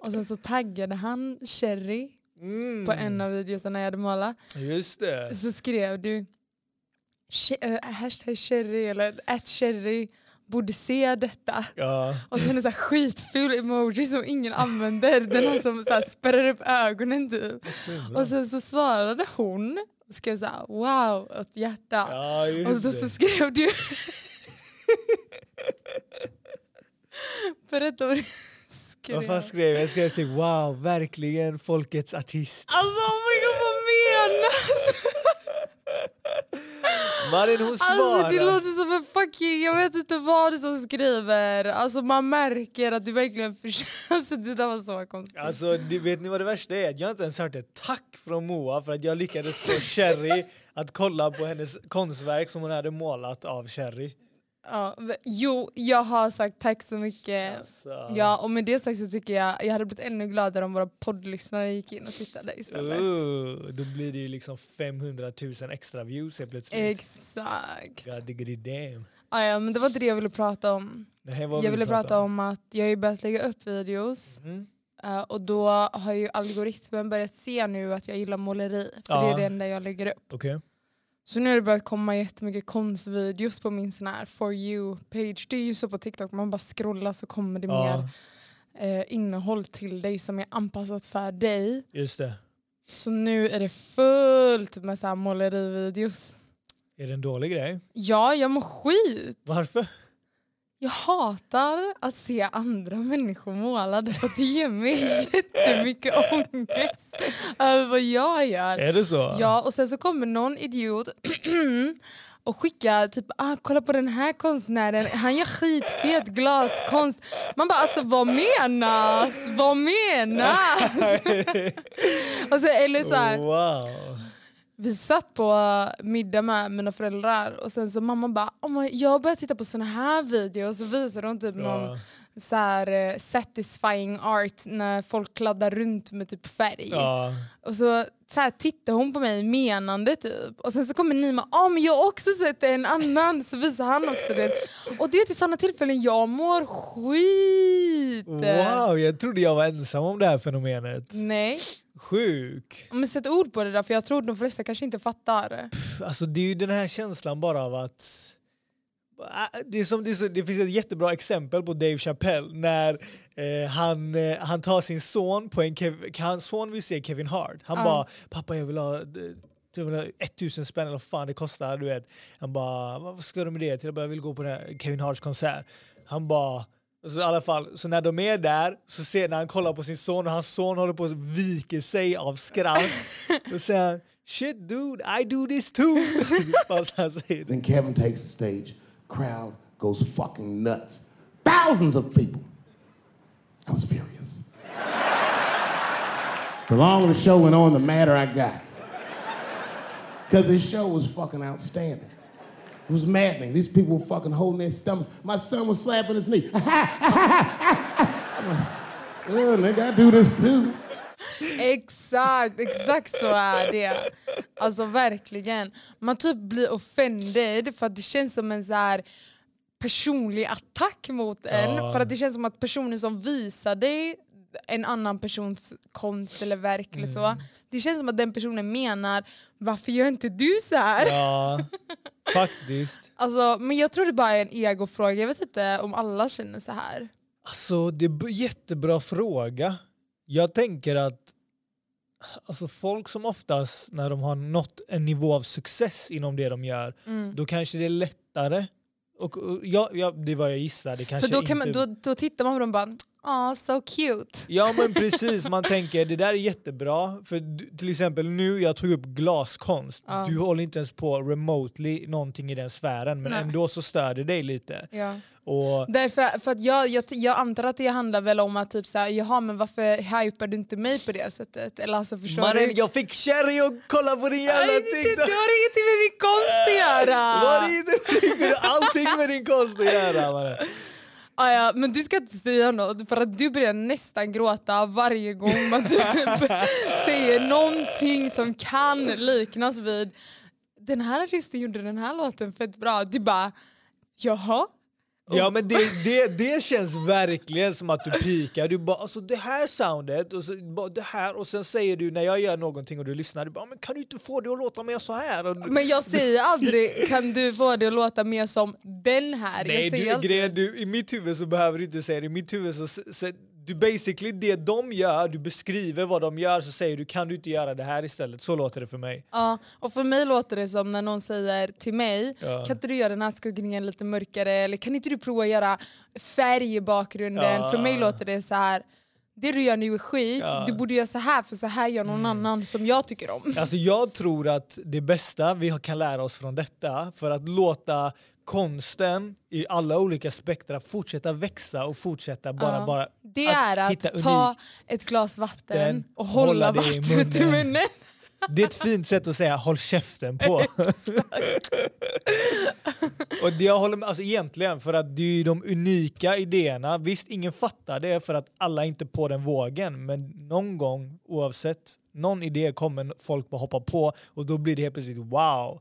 [SPEAKER 2] Och sen så taggade han Cherry på en av videorna jag hade målat.
[SPEAKER 1] Mm. Just det.
[SPEAKER 2] Så skrev du "Che- eh, hashtag Cherry eller att Cherry borde se detta.
[SPEAKER 1] Ja.
[SPEAKER 2] Och sen en så här skitful emoji som ingen använder. Den här som så här spärrar upp ögonen typ. Och sen så svarade hon och skrev så här wow och ett hjärta.
[SPEAKER 1] Ja, just
[SPEAKER 2] Och Alltså, då
[SPEAKER 1] det.
[SPEAKER 2] så skrev du... Berätta vad du skrev.
[SPEAKER 1] Vad fan skrev jag? Jag skrev typ wow, verkligen folkets artist.
[SPEAKER 2] Alltså oh my god vad menas?
[SPEAKER 1] Malin hon svarar.
[SPEAKER 2] Alltså det låter som en fucking, jag vet inte vad det är som skriver. Alltså man märker att du verkligen försöker. Alltså det där var så konstigt.
[SPEAKER 1] Alltså, det- vet ni vad det värsta är? Att Jag har inte ens hört ett tack från Moa för att jag lyckades få Cherry att kolla på hennes konstverk som hon hade målat av Cherry.
[SPEAKER 2] Ja, men- jo jag har sagt tack så mycket.
[SPEAKER 1] Alltså.
[SPEAKER 2] Ja och med det sagt så tycker jag, jag hade blivit ännu gladare om våra poddlyssnare gick in och tittade istället.
[SPEAKER 1] Ooh, då blir det ju liksom 500 000 extra views helt plötsligt.
[SPEAKER 2] Exakt.
[SPEAKER 1] God diggity damn.
[SPEAKER 2] Ah, ja, men det var inte det jag ville prata om.
[SPEAKER 1] Det här var
[SPEAKER 2] Jag
[SPEAKER 1] vi
[SPEAKER 2] ville prata om att jag har ju börjat lägga upp videos
[SPEAKER 1] Mm.
[SPEAKER 2] eh, och då har ju algoritmen börjat se nu att jag gillar måleri för det
[SPEAKER 1] Ja.
[SPEAKER 2] är det enda jag lägger upp.
[SPEAKER 1] Okej.
[SPEAKER 2] Så nu har det börjat komma jättemycket konstvideos på min sån här for you-page. Det är ju så på TikTok, man bara scrollar så kommer det
[SPEAKER 1] Ja,
[SPEAKER 2] mer eh, innehåll till dig som är anpassat för dig.
[SPEAKER 1] just det.
[SPEAKER 2] Så nu är det fullt med så här målerivideos.
[SPEAKER 1] Är det en dålig grej?
[SPEAKER 2] Ja, jag mår skit!
[SPEAKER 1] Varför?
[SPEAKER 2] Jag hatar att se andra människor målade för att det ger mig jättemycket ångest över vad jag gör.
[SPEAKER 1] Är det så?
[SPEAKER 2] Ja, och sen så kommer någon idiot och skickar typ ah, kolla på den här konstnären, han gör skitfet glaskonst. Man bara alltså vad menas? Vad menas? och så, eller så här,
[SPEAKER 1] Wow.
[SPEAKER 2] vi satt på middag med mina föräldrar och sen så mamma bara oh my, jag börjar titta på såna här videos och visar de typ någon så här, eh, satisfying art när folk kladdar runt med typ färg.
[SPEAKER 1] Ja.
[SPEAKER 2] Och så, så här, tittar hon på mig menande typ. Och sen så kommer Nima, ja men jag har också sett en annan. Så visar han också det. Och du vet i sådana tillfällen jag mår skit.
[SPEAKER 1] Wow, jag trodde jag var ensam om det här fenomenet.
[SPEAKER 2] Nej,
[SPEAKER 1] Sjuk.
[SPEAKER 2] men sätt ord på det där för jag tror de flesta kanske inte fattar.
[SPEAKER 1] Alltså det är ju den här känslan bara av att Äh, det, är som, det, är så, det finns ett jättebra exempel på Dave Chappelle när eh, han, eh, han tar sin son på en... Kev, hans son vill se Kevin Hart. Han
[SPEAKER 2] Ja.
[SPEAKER 1] bara “pappa jag vill ha eh, jag vill ha 1000 spänn eller vad fan det kostar”. Du vet. Han bara “vad ska du med det till?” Jag bara “jag vill gå på den här Kevin Harts konsert”. Han bara så i alla fall, så när de är där så ser när han kollar på sin son och hans son håller på att vika sig av skratt. Då säger han “shit dude, I do this too”. Fast han säger det.
[SPEAKER 5] Then Kevin takes the stage. Crowd goes fucking nuts. Thousands of people. I was furious. the longer the show went on, the madder I got. Because this show was fucking outstanding. It was maddening. These people were fucking holding their stomachs. My son was slapping his knee. I'm like, "Ugh, nigga, I do this too.
[SPEAKER 2] Exakt, exakt så är det. Alltså verkligen. Man typ blir offended för att det känns som en så här personlig attack mot en. För att det känns som att personen som visar dig en annan persons konst eller verk eller så.
[SPEAKER 1] Mm.
[SPEAKER 2] Det känns som att den personen menar varför gör inte du så här?
[SPEAKER 1] Ja, faktiskt.
[SPEAKER 2] Alltså, men jag tror det bara är en egofråga. Jag vet inte om alla känner så här.
[SPEAKER 1] Alltså, det är b- jättebra fråga. Jag tänker att alltså, folk som oftast, när de har nått en nivå av success inom det de gör,
[SPEAKER 2] Mm.
[SPEAKER 1] då kanske det är lättare. Och, och, ja, ja, det är vad jag gissar. Det kanske
[SPEAKER 2] För då, kan man,
[SPEAKER 1] inte...
[SPEAKER 2] då, då tittar man på dem och bara ah so cute.
[SPEAKER 1] Ja men precis, man tänker det där är jättebra. För du- till exempel nu, jag tog upp glaskonst. Du håller inte ens på remotely någonting i den sfären men
[SPEAKER 2] Nej.
[SPEAKER 1] ändå så stör det dig lite.
[SPEAKER 2] Ja.
[SPEAKER 1] Och,
[SPEAKER 2] Därför, för att jag, jag, jag antar att det handlar väl om att typ såhär, jaha men varför hypar du inte mig på det sättet? Eller alltså förstår du?
[SPEAKER 1] Mannen, jag fick cherry och kolla på din jävla
[SPEAKER 2] Nej, det, det,
[SPEAKER 1] TikTok!
[SPEAKER 2] det har ingenting med min konst
[SPEAKER 1] Vad
[SPEAKER 2] att göra!
[SPEAKER 1] är det med allting med din konst att göra mannen?
[SPEAKER 2] Ah, ja, men du ska inte säga något för att du börjar nästan gråta varje gång man typ säger någonting som kan liknas vid den här artisten gjorde den här låten fett bra. Du bara jaha?
[SPEAKER 1] Ja men det, det, det känns verkligen som att du pikar. Du bara alltså det här soundet och så, bara, det här och sen säger du när jag gör någonting och du lyssnar du bara men kan du inte få det att låta mer så här? Och,
[SPEAKER 2] Men jag säger aldrig kan du få det att låta mer som den här.
[SPEAKER 1] Nej,
[SPEAKER 2] jag säger
[SPEAKER 1] du,
[SPEAKER 2] alltid-
[SPEAKER 1] grejen, du, i mitt huvud så behöver du inte säga det. I mitt huvud så, så, så du basically det de gör, du beskriver vad de gör så säger du kan du inte göra det här istället? Så låter det för mig.
[SPEAKER 2] Ja, och för mig låter det som när någon säger till mig
[SPEAKER 1] Ja.
[SPEAKER 2] kan inte du göra den här skuggningen lite mörkare eller kan inte du prova att göra färg i bakgrunden?
[SPEAKER 1] Ja.
[SPEAKER 2] För mig låter det så här det du gör nu är skit, du borde göra så här för så här gör någon
[SPEAKER 1] Mm.
[SPEAKER 2] annan som jag tycker om.
[SPEAKER 1] Alltså jag tror att det bästa vi kan lära oss från detta för att låta konsten i alla olika spektra fortsätta växa och fortsätta bara
[SPEAKER 2] Ja.
[SPEAKER 1] vara
[SPEAKER 2] Det är
[SPEAKER 1] hitta
[SPEAKER 2] att ta
[SPEAKER 1] unik.
[SPEAKER 2] ett glas vatten
[SPEAKER 1] Den,
[SPEAKER 2] och hålla,
[SPEAKER 1] hålla det i
[SPEAKER 2] vattnet i
[SPEAKER 1] munnen.
[SPEAKER 2] munnen.
[SPEAKER 1] Det är ett fint sätt att säga håll käften på. och det jag håller med, alltså egentligen, för att det är ju de unika idéerna. Visst, ingen fattar det för att alla är inte på den vågen, men någon gång oavsett, någon idé kommer folk bara hoppa på och då blir det helt plötsligt wow.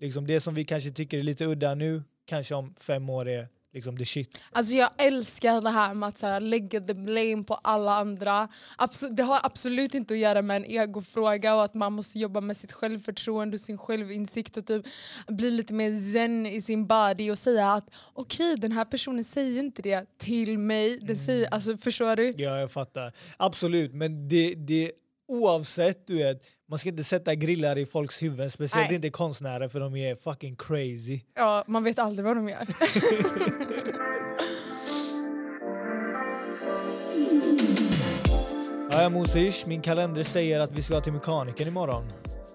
[SPEAKER 1] Liksom det som vi kanske tycker är lite udda nu, kanske om fem år är liksom the shit.
[SPEAKER 2] Alltså jag älskar det här med att så här, lägga the blame på alla andra. Abs- det har absolut inte att göra med en egofråga och att man måste jobba med sitt självförtroende och sin självinsikt och typ bli lite mer zen i sin body och säga att okej den här personen säger inte det till mig. Den
[SPEAKER 1] Mm.
[SPEAKER 2] säger, alltså, förstår du?
[SPEAKER 1] Ja, jag fattar. Absolut, men det, det oavsett, du vet, man- Man ska inte sätta grillar i folks huvuden, speciellt
[SPEAKER 2] Nej.
[SPEAKER 1] inte konstnärer för de är fucking crazy.
[SPEAKER 2] Ja, man vet aldrig vad de gör.
[SPEAKER 1] Ja, ja, Mosish, min kalender säger att vi ska till mekanikern imorgon.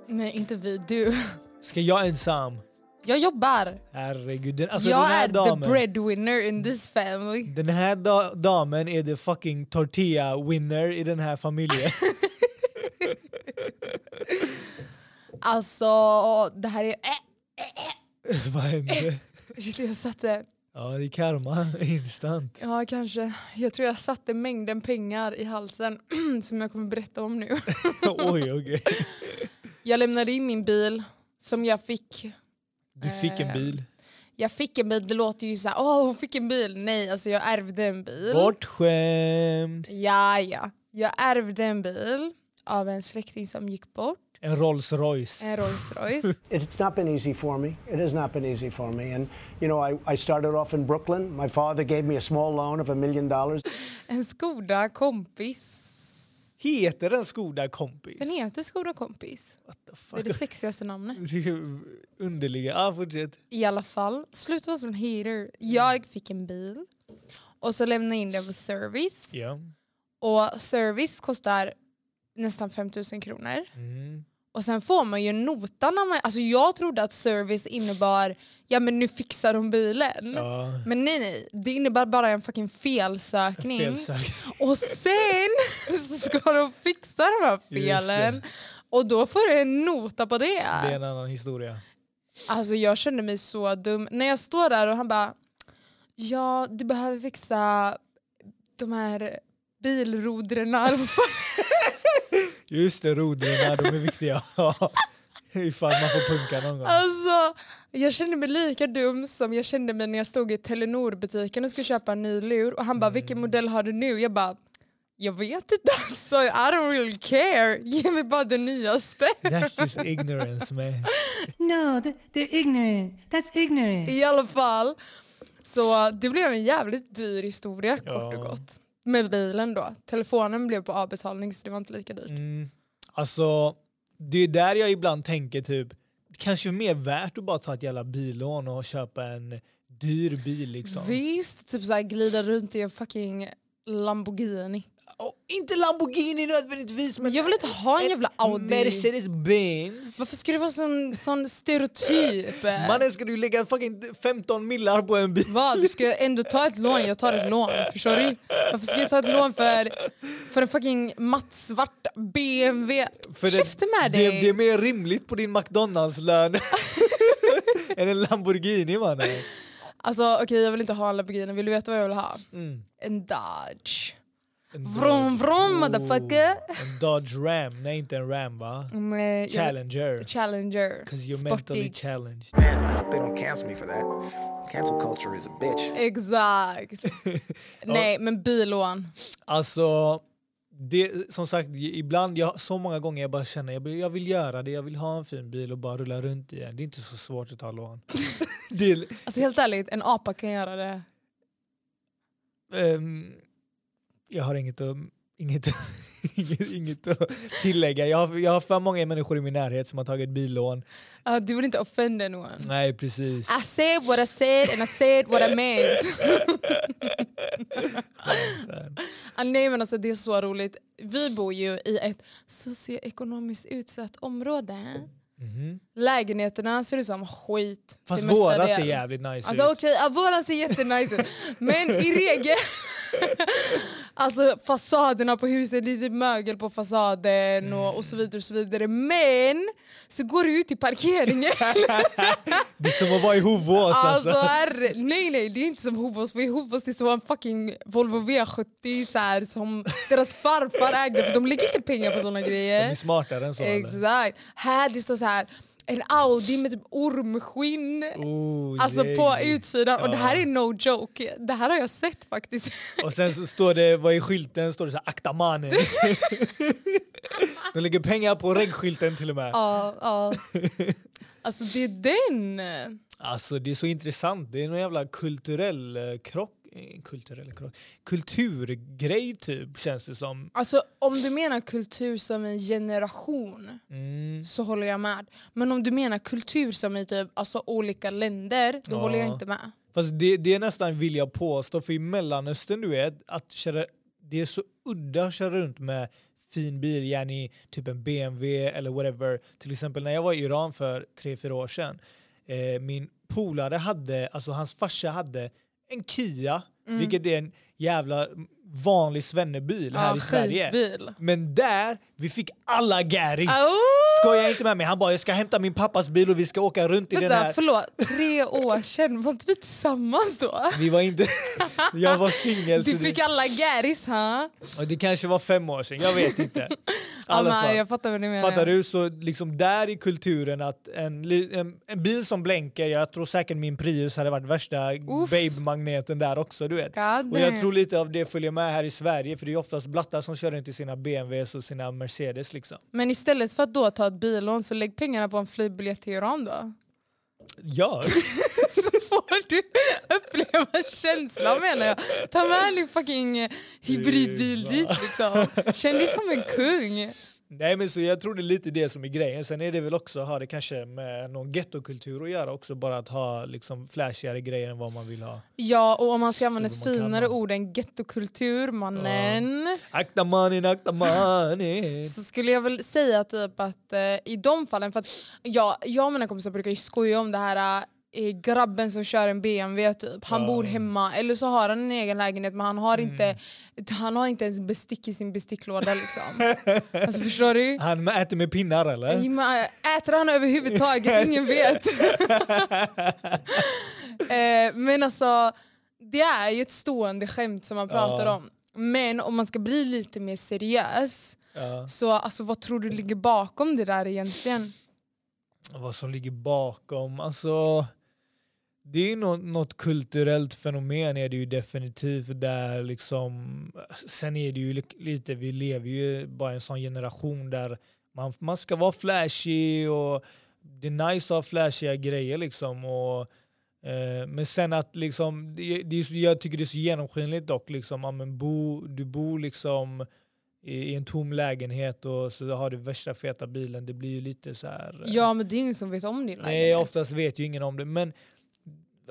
[SPEAKER 2] Nej, inte vi. Du.
[SPEAKER 1] Ska jag ensam?
[SPEAKER 2] Jag jobbar.
[SPEAKER 1] Herregud. Den, alltså den
[SPEAKER 2] jag
[SPEAKER 1] här
[SPEAKER 2] är
[SPEAKER 1] damen,
[SPEAKER 2] the breadwinner in this family.
[SPEAKER 1] Den här da- damen är the fucking tortilla winner i den här familjen.
[SPEAKER 2] Alltså, det här är... Äh,
[SPEAKER 1] Vad hände?
[SPEAKER 2] shit, jag satte...
[SPEAKER 1] Ja, det är karma. Instant.
[SPEAKER 2] Ja, kanske. Jag tror jag satte mängden pengar i halsen som jag kommer berätta om nu.
[SPEAKER 1] Oj, okej.
[SPEAKER 2] Jag lämnade in min bil som jag fick.
[SPEAKER 1] Du fick en
[SPEAKER 2] Eh,
[SPEAKER 1] bil.
[SPEAKER 2] Jag fick en bil, det låter ju såhär, åh hon fick en bil. Nej, alltså jag ärvde en bil.
[SPEAKER 1] Bortskämd.
[SPEAKER 2] Ja, ja. Jag ärvde en bil av en släkting som gick bort.
[SPEAKER 1] En Rolls Royce.
[SPEAKER 2] En Rolls Royce.
[SPEAKER 6] It's not been easy for me. It has not been easy for me. And, you know, I, I started off in Brooklyn. My father gave me a small loan of a million dollars.
[SPEAKER 2] En Skoda kompis.
[SPEAKER 1] Heter den Skoda kompis?
[SPEAKER 2] Den heter Skoda kompis.
[SPEAKER 1] What the fuck?
[SPEAKER 2] Det är det sexigaste namnet.
[SPEAKER 1] Det är Underliga. Ja, fortsätt.
[SPEAKER 2] I alla fall, sluta vara sån hater. Jag fick en bil och så lämnade jag in den på service.
[SPEAKER 1] Ja.
[SPEAKER 2] Och service kostar nästan 5000 kronor.
[SPEAKER 1] Mm.
[SPEAKER 2] Och sen får man ju notan. När man, alltså jag trodde att service innebar ja men nu fixar de bilen.
[SPEAKER 1] Ja.
[SPEAKER 2] Men nej nej, det innebär bara en fucking felsökning.
[SPEAKER 1] Felsökning.
[SPEAKER 2] Och sen ska de fixa de här felen. Och då får du en nota på det.
[SPEAKER 1] Det är en annan historia.
[SPEAKER 2] Alltså jag kände mig så dum. När jag står där och han bara Ja, du behöver fixa de här bilrodrena.
[SPEAKER 1] Just det, rodren, de är viktiga. Ja. Ifall man får punka någon gång.
[SPEAKER 2] alltså, jag kände mig lika dum som jag kände mig när jag stod i Telenor-butiken och skulle köpa en ny lur och han bara “vilken modell har du nu?” Jag bara “jag vet inte alltså, I don't really care, ge mig bara den nyaste”.
[SPEAKER 1] That's just ignorance man.
[SPEAKER 7] No, th- they're ignorant. That's ignorant.
[SPEAKER 2] I alla fall. Så det blev en jävligt dyr historia kort och gott. Med bilen då. Telefonen blev på avbetalning så det var inte lika dyrt.
[SPEAKER 1] Alltså, det är där jag ibland tänker typ, kanske mer värt att bara ta ett jävla billån och köpa en dyr bil liksom.
[SPEAKER 2] Visst, typ såhär glida runt i en fucking Lamborghini.
[SPEAKER 1] Och inte Lamborghini nödvändigtvis men
[SPEAKER 2] Jag vill inte ha en jävla Audi.
[SPEAKER 1] Mercedes-Benz.
[SPEAKER 2] Varför ska det vara sån, sån stereotyp?
[SPEAKER 1] Mannen ska du lägga fucking 15 millar på en bil?
[SPEAKER 2] Vad? Du ska ändå ta ett lån, jag tar ett lån. Förstår du? Varför ska jag ta ett lån för, för en fucking mattsvart BMW?
[SPEAKER 1] För det-
[SPEAKER 2] Käften med dig!
[SPEAKER 1] det, det är mer rimligt på din McDonalds-lön än en Lamborghini mannen.
[SPEAKER 2] Alltså okej jag vill inte ha en Lamborghini, vill du veta vad jag vill ha?
[SPEAKER 1] Mm.
[SPEAKER 2] En Dodge. Vroom vroom motherfucker!
[SPEAKER 1] En Dodge Ram, nej inte en Ram va?
[SPEAKER 2] Nej, jag-
[SPEAKER 1] Challenger.
[SPEAKER 2] Challenger.
[SPEAKER 1] Because you're mentally
[SPEAKER 2] Mm. Sportig.
[SPEAKER 1] challenged.
[SPEAKER 8] Man, I hope they don't cancel me for that. Cancel culture is a bitch.
[SPEAKER 2] Exakt. Nej men bilån.
[SPEAKER 1] Alltså, det, som sagt, i- ibland, jag, så många gånger jag bara känner jag, vill- jag vill göra det, jag vill ha en fin bil och bara rulla runt i den. Det är inte så svårt att ta lån. det, är-
[SPEAKER 2] Alltså helt ärligt, en apa kan göra det.
[SPEAKER 1] ehm, jag har inget att, inget, inget, inget att tillägga. Jag har, jag har för många människor i min närhet som har tagit billån.
[SPEAKER 2] Ja, du vill inte offenda någon.
[SPEAKER 1] Nej, precis.
[SPEAKER 2] I said what I said and I said what I meant. Ah, Nej men alltså det är så roligt. Vi bor ju i ett socioekonomiskt utsatt område. Lägenheterna ser ut som skit. till
[SPEAKER 1] Mm-hmm. Fast
[SPEAKER 2] mesta
[SPEAKER 1] våra ser
[SPEAKER 2] delen.
[SPEAKER 1] jävligt nice
[SPEAKER 2] Alltså
[SPEAKER 1] ut.
[SPEAKER 2] okej, ja, våran ser jättenice ut. Men i regel... alltså fasaderna på huset, det är typ mögel på fasaden
[SPEAKER 1] Mm.
[SPEAKER 2] och, och så vidare och så vidare. Men så går du ut i parkeringen.
[SPEAKER 1] Det är som att vara i Hovås alltså.
[SPEAKER 2] alltså herre, nej nej det är inte som Hovås, för i Hovås det är så en fucking Volvo V70 så här, som deras farfar ägde för de lägger inte pengar på såna
[SPEAKER 1] De är
[SPEAKER 2] grejer.
[SPEAKER 1] smartare än så. eller?
[SPEAKER 2] eh, Exakt. Här det står så här en Audi med typ ormskinn.
[SPEAKER 1] Oh,
[SPEAKER 2] Alltså på
[SPEAKER 1] yeah.
[SPEAKER 2] utsidan. Och det här
[SPEAKER 1] Ja.
[SPEAKER 2] är no joke. Det här har jag sett faktiskt.
[SPEAKER 1] Och sen så står det, vad i skylten står det så här, akta mannen. De lägger pengar på reggskylten till och med.
[SPEAKER 2] ja, ja. Alltså det är den.
[SPEAKER 1] Alltså det är så intressant, det är någon jävla kulturell eh, krock eh, kulturell krock, kulturgrej typ känns det som.
[SPEAKER 2] Alltså om du menar kultur som en generation
[SPEAKER 1] Mm.
[SPEAKER 2] så håller jag med. Men om du menar kultur som i typ, alltså, olika länder, då
[SPEAKER 1] Ja.
[SPEAKER 2] håller jag inte med.
[SPEAKER 1] Fast det, det är nästan vill jag påstå, för i Mellanöstern du vet, att köra, det är så udda att köra runt med fin bil, gärna i typ en BMW eller whatever. Till exempel när jag var i Iran för tre fyra år sedan, eh, min polare hade, alltså hans farsa hade en Kia,
[SPEAKER 2] Mm.
[SPEAKER 1] vilket är en jävla vanlig svennebil här i Sverige.
[SPEAKER 2] skitbil.
[SPEAKER 1] Men där, vi fick alla garris!
[SPEAKER 2] Au!
[SPEAKER 1] Skoja inte med mig, han bara jag ska hämta min pappas bil och vi ska åka runt i den
[SPEAKER 2] Vänta,
[SPEAKER 1] här
[SPEAKER 2] förlåt. Tre år sedan, var inte vi tillsammans då?
[SPEAKER 1] Vi var inte... jag var singel. så
[SPEAKER 2] Du fick alla gäris, ha?
[SPEAKER 1] det, och det kanske var fem år sedan, jag vet inte. I
[SPEAKER 2] Ja,
[SPEAKER 1] alla
[SPEAKER 2] men
[SPEAKER 1] fall.
[SPEAKER 2] jag fattar vad du menar.
[SPEAKER 1] Fattar du? Så liksom där i kulturen att en, li- en, en bil som blänker, jag tror säkert min Prius hade varit värsta
[SPEAKER 2] Uff.
[SPEAKER 1] babe-magneten där också. du vet.
[SPEAKER 2] God
[SPEAKER 1] Och jag
[SPEAKER 2] damn.
[SPEAKER 1] tror lite av det följer med här i Sverige för det är oftast blattar som kör runt i sina BMWs och sina Mercedes. liksom.
[SPEAKER 2] Men istället för att då ta ett billån så lägg pengarna på en flygbiljett till Iran då.
[SPEAKER 1] Gör!
[SPEAKER 2] så får du uppleva känslan menar jag. Ta med din fucking eh, hybridbil
[SPEAKER 1] Flyga.
[SPEAKER 2] dit liksom. Känn dig som en kung.
[SPEAKER 1] Nej men så jag tror det är lite det som är grejen. Sen är det väl också, har det kanske med någon gettokultur att göra också, bara att ha liksom flashigare grejer än vad man vill ha.
[SPEAKER 2] Ja, och om man ska använda ett
[SPEAKER 1] man kan
[SPEAKER 2] finare
[SPEAKER 1] ha.
[SPEAKER 2] ord än gettokultur, mannen.
[SPEAKER 1] Akta manin, akta manin.
[SPEAKER 2] Så skulle jag väl säga typ att eh, i de fallen, för att jag, jag och mina kompisar brukar ju skoja om det här eh, grabben som kör en BMW typ, han bor hemma eller så har han en egen lägenhet men han har, inte, han har inte ens bestick i sin besticklåda liksom. alltså förstår du?
[SPEAKER 1] Han äter med pinnar eller?
[SPEAKER 2] Nej, men, äh, Äter han överhuvudtaget? Ingen vet. Eh, men alltså, det är ju ett stående skämt som man pratar
[SPEAKER 1] Ja.
[SPEAKER 2] om. Men om man ska bli lite mer seriös,
[SPEAKER 1] Ja.
[SPEAKER 2] så alltså, vad tror du ligger bakom det där egentligen?
[SPEAKER 1] Och Vad som ligger bakom, alltså. Det är ju något, något kulturellt fenomen är det ju definitivt där liksom. Sen är det ju li- lite, vi lever ju bara i en sån generation där man, man ska vara flashy och det är nice att ha flashiga grejer liksom. Och, eh, men sen att liksom, det, det, är så- jag tycker det är så genomskinligt dock liksom, ja, men bo, du bor liksom i, i en tom lägenhet och så har du värsta feta bilen, det blir ju lite så här. eh,
[SPEAKER 2] Ja men det är ingen som vet om din
[SPEAKER 1] Nej, oftast vet ju ingen om det. Men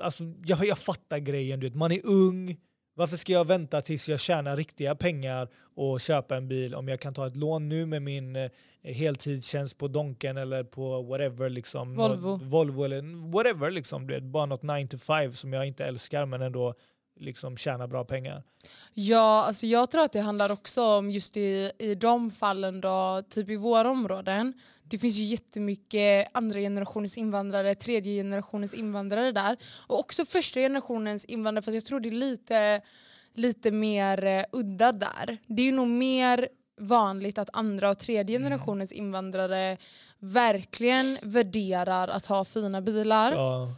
[SPEAKER 1] alltså, jag, jag fattar grejen, du vet. man är ung. Varför ska jag vänta tills jag tjänar riktiga pengar och köpa en bil om jag kan ta ett lån nu med min eh, heltidstjänst på Donken eller på whatever liksom.
[SPEAKER 2] Volvo.
[SPEAKER 1] Nå- Volvo eller whatever liksom. Du vet, bara något 9 to 5 som jag inte älskar men ändå liksom tjänar bra pengar.
[SPEAKER 2] Ja, alltså jag tror att det handlar också om just i, i de fallen då, typ i våra områden. Det finns ju jättemycket andra generationens invandrare, tredje generationens invandrare där. Och också första generationens invandrare, fast jag tror det är lite, lite mer eh, udda där. Det är ju nog mer vanligt att andra och tredje
[SPEAKER 1] Mm.
[SPEAKER 2] generationens invandrare verkligen värderar att ha fina bilar.
[SPEAKER 1] Ja,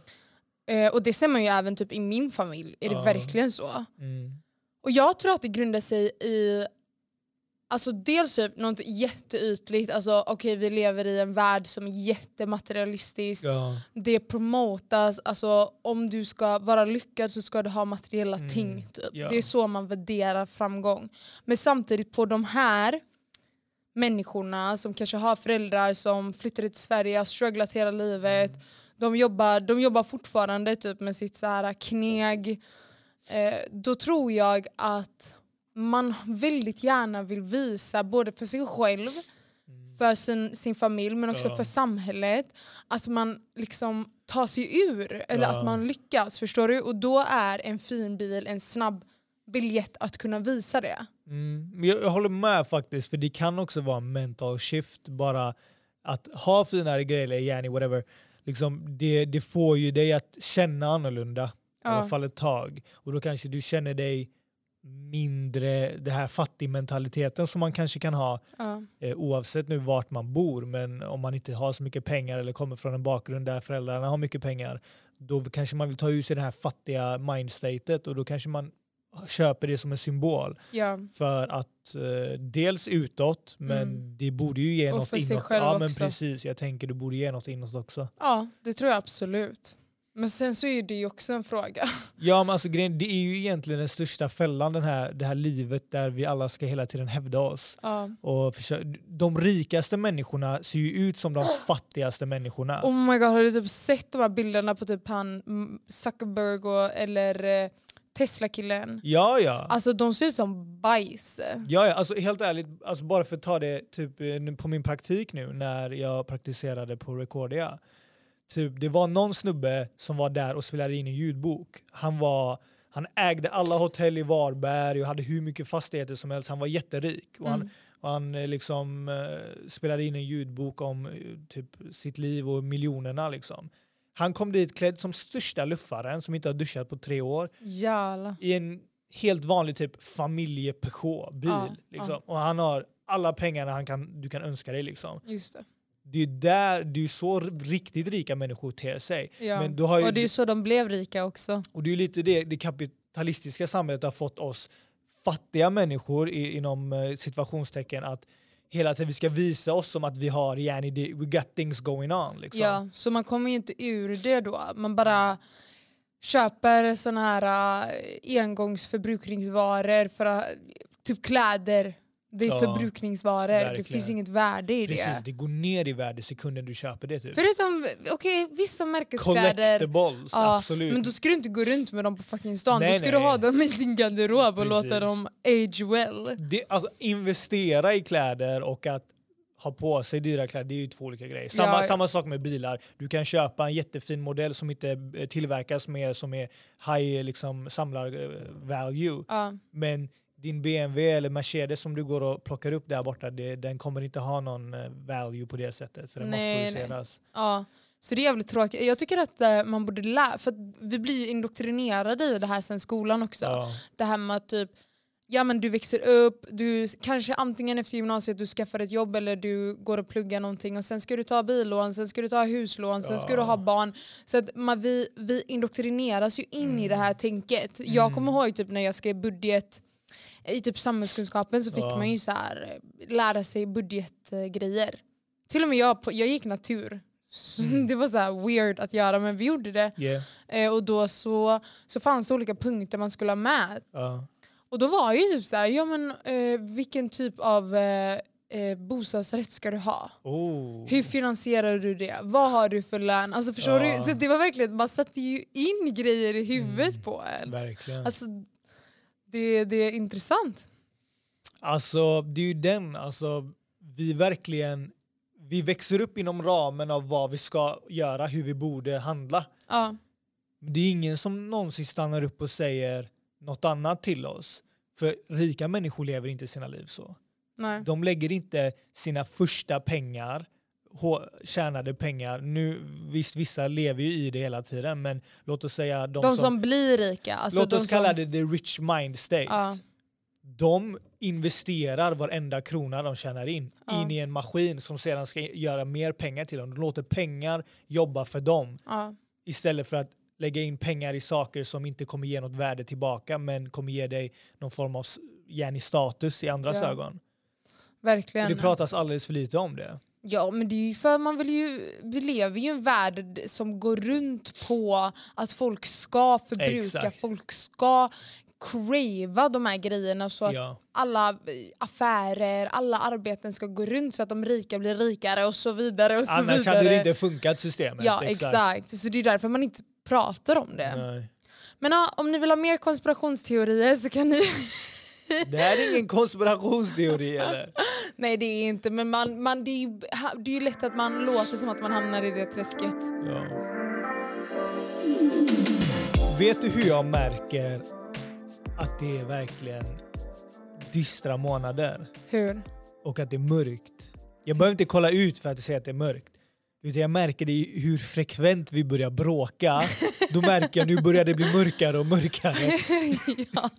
[SPEAKER 2] Eh, och det ser man ju även typ i min familj, är det
[SPEAKER 1] Ja.
[SPEAKER 2] verkligen så?
[SPEAKER 1] mm.
[SPEAKER 2] Och jag tror att det grundar sig i Alltså dels typ något jätteytligt, alltså okej vi lever i en värld som är jättematerialistisk,
[SPEAKER 1] ja.
[SPEAKER 2] det promotas, alltså om du ska vara lyckad så ska du ha materiella ting. Typ.
[SPEAKER 1] ja.
[SPEAKER 2] Det är så man värderar framgång. Men samtidigt på de här människorna som kanske har föräldrar som flyttade till Sverige, har strugglat hela livet, de, jobbar, de jobbar fortfarande typ med sitt så här kneg, eh, då tror jag att man väldigt gärna vill visa både för sig själv, för sin, sin familj men också
[SPEAKER 1] Ja.
[SPEAKER 2] för samhället att man liksom tar sig ur eller
[SPEAKER 1] Ja.
[SPEAKER 2] att man lyckas. Förstår du? Och då är en fin bil en snabb biljett att kunna visa det.
[SPEAKER 1] Mm, men jag, jag håller med faktiskt, för det kan också vara en mental shift. Bara att ha finare grejer, eller gärna whatever, liksom det, det får ju dig att känna annorlunda. I alla
[SPEAKER 2] Ja.
[SPEAKER 1] fall ett tag. Och då kanske du känner dig mindre, det här fattigmentaliteten som man kanske kan ha
[SPEAKER 2] Ja.
[SPEAKER 1] eh, oavsett nu vart man bor. Men om man inte har så mycket pengar eller kommer från en bakgrund där föräldrarna har mycket pengar, då kanske man vill ta ur sig det här fattiga mindstatet och då kanske man köper det som en symbol.
[SPEAKER 2] Ja.
[SPEAKER 1] För att eh, dels utåt, men det borde ju ge
[SPEAKER 2] Mm. Och
[SPEAKER 1] något
[SPEAKER 2] för sig
[SPEAKER 1] inåt.
[SPEAKER 2] själv
[SPEAKER 1] ja, men
[SPEAKER 2] också.
[SPEAKER 1] precis. Jag tänker det borde ge något inåt också.
[SPEAKER 2] ja, det tror jag absolut. Men sen så är det ju också en fråga.
[SPEAKER 1] Ja, men alltså, grejen- det är ju egentligen den största fällan, den här, det här livet där vi alla ska hela tiden hävda oss.
[SPEAKER 2] Ja.
[SPEAKER 1] Och försö- de rikaste människorna ser ju ut som de fattigaste människorna.
[SPEAKER 2] Oh my god, har du typ sett de här bilderna på typ han mm, Zuckerberg och, eller eh, Tesla-killen?
[SPEAKER 1] Ja, ja.
[SPEAKER 2] Alltså de ser ut som bajs.
[SPEAKER 1] Ja, ja, alltså helt ärligt, alltså bara för att ta det typ eh, nu på min praktik nu när jag praktiserade på Recordia. Typ, det var någon snubbe som var där och spelade in en ljudbok. Han, var, han ägde alla hotell i Varberg och hade hur mycket fastigheter som helst. Han var jätterik. Och han, och han eh, liksom, eh, spelade in en ljudbok om eh, typ, sitt liv och miljonerna. Liksom. Han kom dit klädd som största luffaren som inte har duschat på tre år
[SPEAKER 2] Jävlar.
[SPEAKER 1] i en helt vanlig typ familje Peugeot-bil.
[SPEAKER 2] Ja,
[SPEAKER 1] liksom. Och han har alla pengarna han kan, du kan önska dig. Liksom.
[SPEAKER 2] Just det.
[SPEAKER 1] Det är där, det är så r- riktigt rika människor ter sig.
[SPEAKER 2] Ja.
[SPEAKER 1] Men du har ju,
[SPEAKER 2] och det är ju så de blev rika också.
[SPEAKER 1] och det är ju lite det det kapitalistiska samhället har fått oss fattiga människor i, inom eh, situationstecken att hela tiden vi ska visa oss som att vi har, yani, det- we got things going on. Liksom.
[SPEAKER 2] Ja, så man kommer ju inte ur det då. Man bara köper såna här eh, engångsförbrukningsvaror för att, typ kläder. Det är
[SPEAKER 1] Ja,
[SPEAKER 2] förbrukningsvaror, det
[SPEAKER 1] verkligen.
[SPEAKER 2] finns inget värde i
[SPEAKER 1] Precis,
[SPEAKER 2] det.
[SPEAKER 1] det går ner i värde sekunden du köper det. Typ.
[SPEAKER 2] Förutom okej, vissa märkeskläder,
[SPEAKER 1] Collectables, absolut.
[SPEAKER 2] men då ska du inte gå runt med dem på fucking stan.
[SPEAKER 1] Nej,
[SPEAKER 2] då ska
[SPEAKER 1] nej.
[SPEAKER 2] du ha dem i din garderob och låta
[SPEAKER 1] Precis.
[SPEAKER 2] dem age well.
[SPEAKER 1] det, alltså, investera i kläder och att ha på sig dyra kläder, det är ju två olika grejer. Samma,
[SPEAKER 2] Ja.
[SPEAKER 1] samma sak med bilar. Du kan köpa en jättefin modell som inte eh, tillverkas mer, som är high eh, liksom, samlar eh, value.
[SPEAKER 2] Ja.
[SPEAKER 1] Men din BMW eller Mercedes som du går och plockar upp där borta, det, den kommer inte ha någon eh, value på det sättet för den
[SPEAKER 2] Nej, nej.
[SPEAKER 1] måste produceras.
[SPEAKER 2] Ja, så det är jävligt tråkigt. Jag tycker att eh, man borde lära, för att vi blir ju indoktrinerade i det här sen skolan också.
[SPEAKER 1] Ja.
[SPEAKER 2] Det här med att typ, ja men du växer upp, du s- kanske antingen efter gymnasiet du skaffar ett jobb eller du går och pluggar någonting och sen ska du ta billån, sen ska du ta huslån, sen ska du ha barn. Så att man, vi, vi indoktrineras ju in i det
[SPEAKER 1] Mm.
[SPEAKER 2] här tänket. Jag kommer ihåg typ när jag skrev budget i typ samhällskunskapen så fick
[SPEAKER 1] Ja.
[SPEAKER 2] man ju så här, eh, lära sig budgetgrejer. Till och med jag, på- jag gick natur. Så
[SPEAKER 1] Mm.
[SPEAKER 2] Det var så här weird att göra men vi gjorde det.
[SPEAKER 1] Yeah.
[SPEAKER 2] Eh, och då så, så fanns det olika punkter man skulle ha med.
[SPEAKER 1] Ja.
[SPEAKER 2] Och då var ju typ så här, ja men eh, vilken typ av eh, eh, bostadsrätt ska du ha?
[SPEAKER 1] Oh.
[SPEAKER 2] Hur finansierar du det? Vad har du för lön? Alltså förstår
[SPEAKER 1] Ja. Mm.
[SPEAKER 2] du? Så det var verkligen, man satte ju in grejer i huvudet på en.
[SPEAKER 1] Verkligen.
[SPEAKER 2] Alltså, det, det är intressant.
[SPEAKER 1] Alltså det är ju den, alltså vi verkligen, vi växer upp inom ramen av vad vi ska göra, hur vi borde handla.
[SPEAKER 2] Ja.
[SPEAKER 1] Men det är ingen som någonsin stannar upp och säger något annat till oss. För rika människor lever inte sina liv så.
[SPEAKER 2] Nej.
[SPEAKER 1] De lägger inte sina första pengar, hå- tjänade pengar, nu visst vissa lever ju i det hela tiden men låt oss säga de,
[SPEAKER 2] De
[SPEAKER 1] som
[SPEAKER 2] som blir rika. Alltså
[SPEAKER 1] Låt
[SPEAKER 2] de
[SPEAKER 1] oss kalla
[SPEAKER 2] som,
[SPEAKER 1] det the rich mind state.
[SPEAKER 2] Ja.
[SPEAKER 1] De investerar varenda krona de tjänar in in i en maskin som sedan ska göra mer pengar till dem. De låter pengar jobba för dem
[SPEAKER 2] Ja.
[SPEAKER 1] istället för att lägga in pengar i saker som inte kommer ge något värde tillbaka men kommer ge dig någon form av gärna status i andras
[SPEAKER 2] Ja.
[SPEAKER 1] ögon. Och
[SPEAKER 2] Verkligen.
[SPEAKER 1] det pratas alldeles för lite om det.
[SPEAKER 2] Ja men det är ju för man vill ju, vi lever ju i en värld som går runt på att folk ska förbruka,
[SPEAKER 1] Exakt.
[SPEAKER 2] folk ska crava de här grejerna så att
[SPEAKER 1] Ja.
[SPEAKER 2] alla eh, affärer, alla arbeten ska gå runt så att de rika blir rikare och så vidare och så
[SPEAKER 1] Annars
[SPEAKER 2] vidare.
[SPEAKER 1] hade det inte funkat systemet.
[SPEAKER 2] ja exakt. så det är därför man inte pratar om det.
[SPEAKER 1] Nej.
[SPEAKER 2] Men ja, om ni vill ha mer konspirationsteorier så kan ni
[SPEAKER 1] Det här är ingen konspirationsteori eller?
[SPEAKER 2] Nej det är inte, men man, man, det, är ju, ha- det är ju lätt att man låter som att man hamnar i det träsket.
[SPEAKER 1] Ja. Vet du hur jag märker att det är verkligen dystra månader
[SPEAKER 2] Hur?
[SPEAKER 1] och att det är mörkt? Jag behöver inte kolla ut för att säga att det är mörkt. Utan jag märker det i hur frekvent vi börjar bråka. Då märker jag nu börjar det bli mörkare och mörkare.
[SPEAKER 2] ja,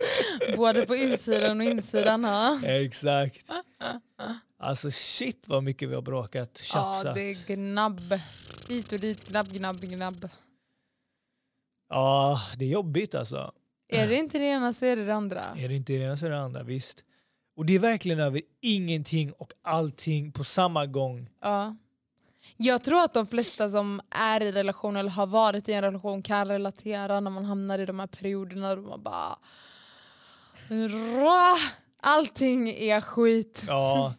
[SPEAKER 2] både på utsidan och insidan. Ha?
[SPEAKER 1] Exakt. Alltså shit vad mycket vi har bråkat, tjafsat.
[SPEAKER 2] Ja, det är gnabb. Hit och dit, gnabb, gnabb, gnabb.
[SPEAKER 1] ja, det är jobbigt alltså.
[SPEAKER 2] Är det inte det ena så är det det andra.
[SPEAKER 1] Är det inte det ena så är det andra, visst. Och det är verkligen över ingenting och allting på samma gång.
[SPEAKER 2] Ja. Jag tror att de flesta som är i relation eller har varit i en relation kan relatera när man hamnar i de här perioderna då man bara... Rå, allting är skit.
[SPEAKER 1] Ja.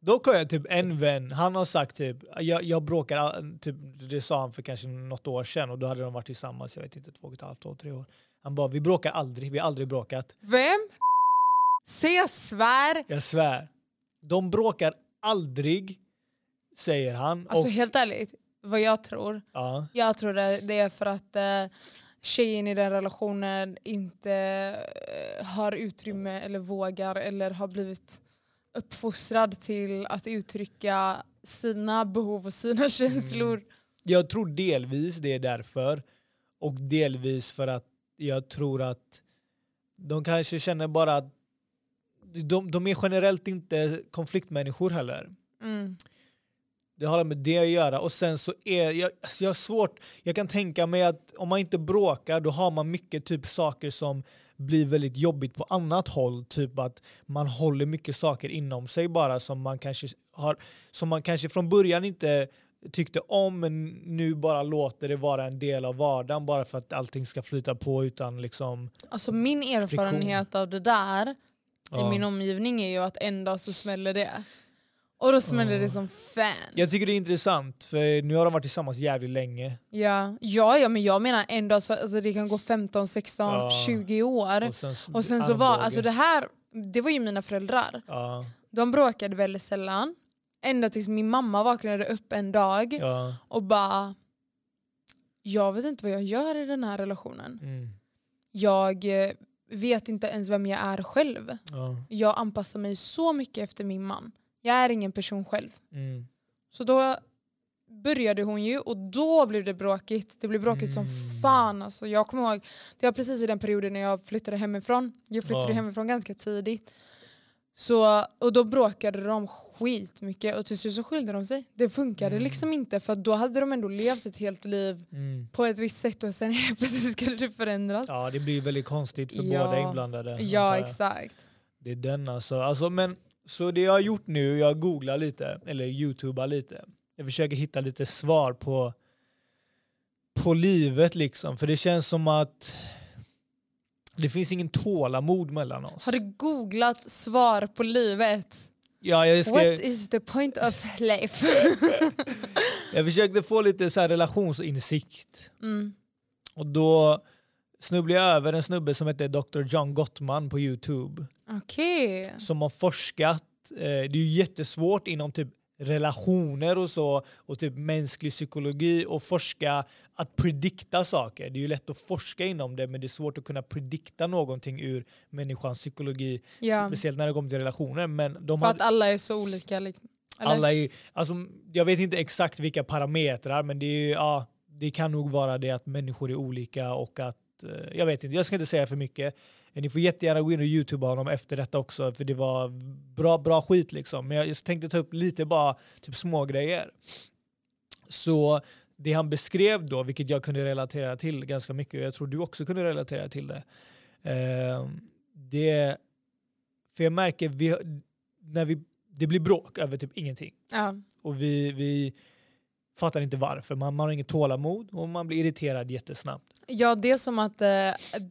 [SPEAKER 1] Dock har jag typ en vän, han har sagt typ, jag, jag bråkar, all- typ, det sa han för kanske något år sedan och då hade de varit tillsammans, jag vet inte, två och ett halvt, två, tre år. Han bara, vi bråkar aldrig, vi har aldrig bråkat.
[SPEAKER 2] Vem? Se jag svär.
[SPEAKER 1] Jag svär. De bråkar aldrig, säger han.
[SPEAKER 2] Alltså
[SPEAKER 1] och,
[SPEAKER 2] helt ärligt, vad jag tror.
[SPEAKER 1] ja.
[SPEAKER 2] Jag tror det, det är för att eh, tjejen i den relationen inte eh, har utrymme eller vågar eller har blivit uppfostrad till att uttrycka sina behov och
[SPEAKER 1] Mm.
[SPEAKER 2] sina känslor.
[SPEAKER 1] Jag tror delvis det är därför. Och delvis för att jag tror att de kanske känner bara att de, de är generellt inte konfliktmänniskor heller.
[SPEAKER 2] Mm.
[SPEAKER 1] Det har med det att göra. Och sen så är jag, alltså jag har svårt, jag kan tänka mig att om man inte bråkar då har man mycket typ saker som blir väldigt jobbigt på annat håll. Typ att man håller mycket saker inom sig bara som man kanske, har, som man kanske från början inte tyckte om men nu bara låter det vara en del av vardagen bara för att allting ska flyta på utan liksom...
[SPEAKER 2] Alltså min erfarenhet av det där i
[SPEAKER 1] Ja.
[SPEAKER 2] min omgivning är ju att en dag så smäller det. Och då smäller det som fan.
[SPEAKER 1] Jag tycker det är intressant för nu har de varit tillsammans jävligt länge.
[SPEAKER 2] Ja, ja, ja men jag menar en dag så alltså, det kan gå 15, 16,
[SPEAKER 1] Ja.
[SPEAKER 2] 20 år.
[SPEAKER 1] Och sen,
[SPEAKER 2] Och sen så var,
[SPEAKER 1] armbåge.
[SPEAKER 2] alltså det här, det var ju mina föräldrar.
[SPEAKER 1] Ja,
[SPEAKER 2] De bråkade väldigt sällan. Ända tills min mamma vaknade upp en dag
[SPEAKER 1] ja,
[SPEAKER 2] och bara, jag vet inte vad jag gör i den här relationen.
[SPEAKER 1] mm,
[SPEAKER 2] Jag eh, vet inte ens vem jag är själv.
[SPEAKER 1] ja,
[SPEAKER 2] Jag anpassar mig så mycket efter min man. Jag är ingen person själv.
[SPEAKER 1] mm.
[SPEAKER 2] Så då började hon ju och då blev det bråkigt. Det blev bråkigt som
[SPEAKER 1] Mm.
[SPEAKER 2] fan. Alltså, jag kommer ihåg, det var precis i den perioden när jag flyttade hemifrån. Jag flyttade
[SPEAKER 1] Ja.
[SPEAKER 2] hemifrån ganska tidigt. Så, och då bråkade de skitmycket och till slut så skilde de sig. Det funkade liksom inte för att då hade de ändå levt ett helt liv
[SPEAKER 1] mm.
[SPEAKER 2] på ett visst sätt och sen helt plötsligt skulle det förändras. Ja,
[SPEAKER 1] Ja, det blir väldigt konstigt för
[SPEAKER 2] Ja.
[SPEAKER 1] båda inblandade. antar jag.
[SPEAKER 2] exakt.
[SPEAKER 1] Det är den alltså. alltså men, så det jag har gjort nu, jag googlar lite, eller youtubar lite. Jag försöker hitta lite svar på, på livet liksom. För det känns som att det finns ingen tålamod mellan oss.
[SPEAKER 2] Har du googlat svar på livet?
[SPEAKER 1] Ja, jag, ska,
[SPEAKER 2] What is the point of life?
[SPEAKER 1] jag försökte få lite så här relationsinsikt.
[SPEAKER 2] Mm.
[SPEAKER 1] Och då snubblade jag över en snubbe som heter Dr. John Gottman på youtube.
[SPEAKER 2] Okej.
[SPEAKER 1] som har forskat. Eh, det är ju jättesvårt inom typ relationer och så och typ mänsklig psykologi och forska att predikta saker. Det är ju lätt att forska inom det men det är svårt att kunna predikta någonting ur människans psykologi.
[SPEAKER 2] Ja.
[SPEAKER 1] Speciellt när det kommer till relationer. Men de
[SPEAKER 2] För
[SPEAKER 1] har,
[SPEAKER 2] att alla är så olika liksom. Eller?
[SPEAKER 1] alla är, alltså, jag vet inte exakt vilka parametrar men det, är, ju- ja, det kan nog vara det att människor är olika och att eh, jag vet inte, jag ska inte säga för mycket. Eh, Ni får jättegärna gå in och youtuba honom efter detta också för det var bra, bra skit liksom. Men jag just tänkte ta upp lite bara typ små grejer. Så det han beskrev då, vilket jag kunde relatera till ganska mycket och jag tror du också kunde relatera till det. Eh, det för jag märker, vi, när vi, det blir bråk över typ ingenting
[SPEAKER 2] Ja.
[SPEAKER 1] och vi, vi fattar inte varför. Man, man har inget tålamod och man blir irriterad jättesnabbt.
[SPEAKER 2] ja, det är som att eh,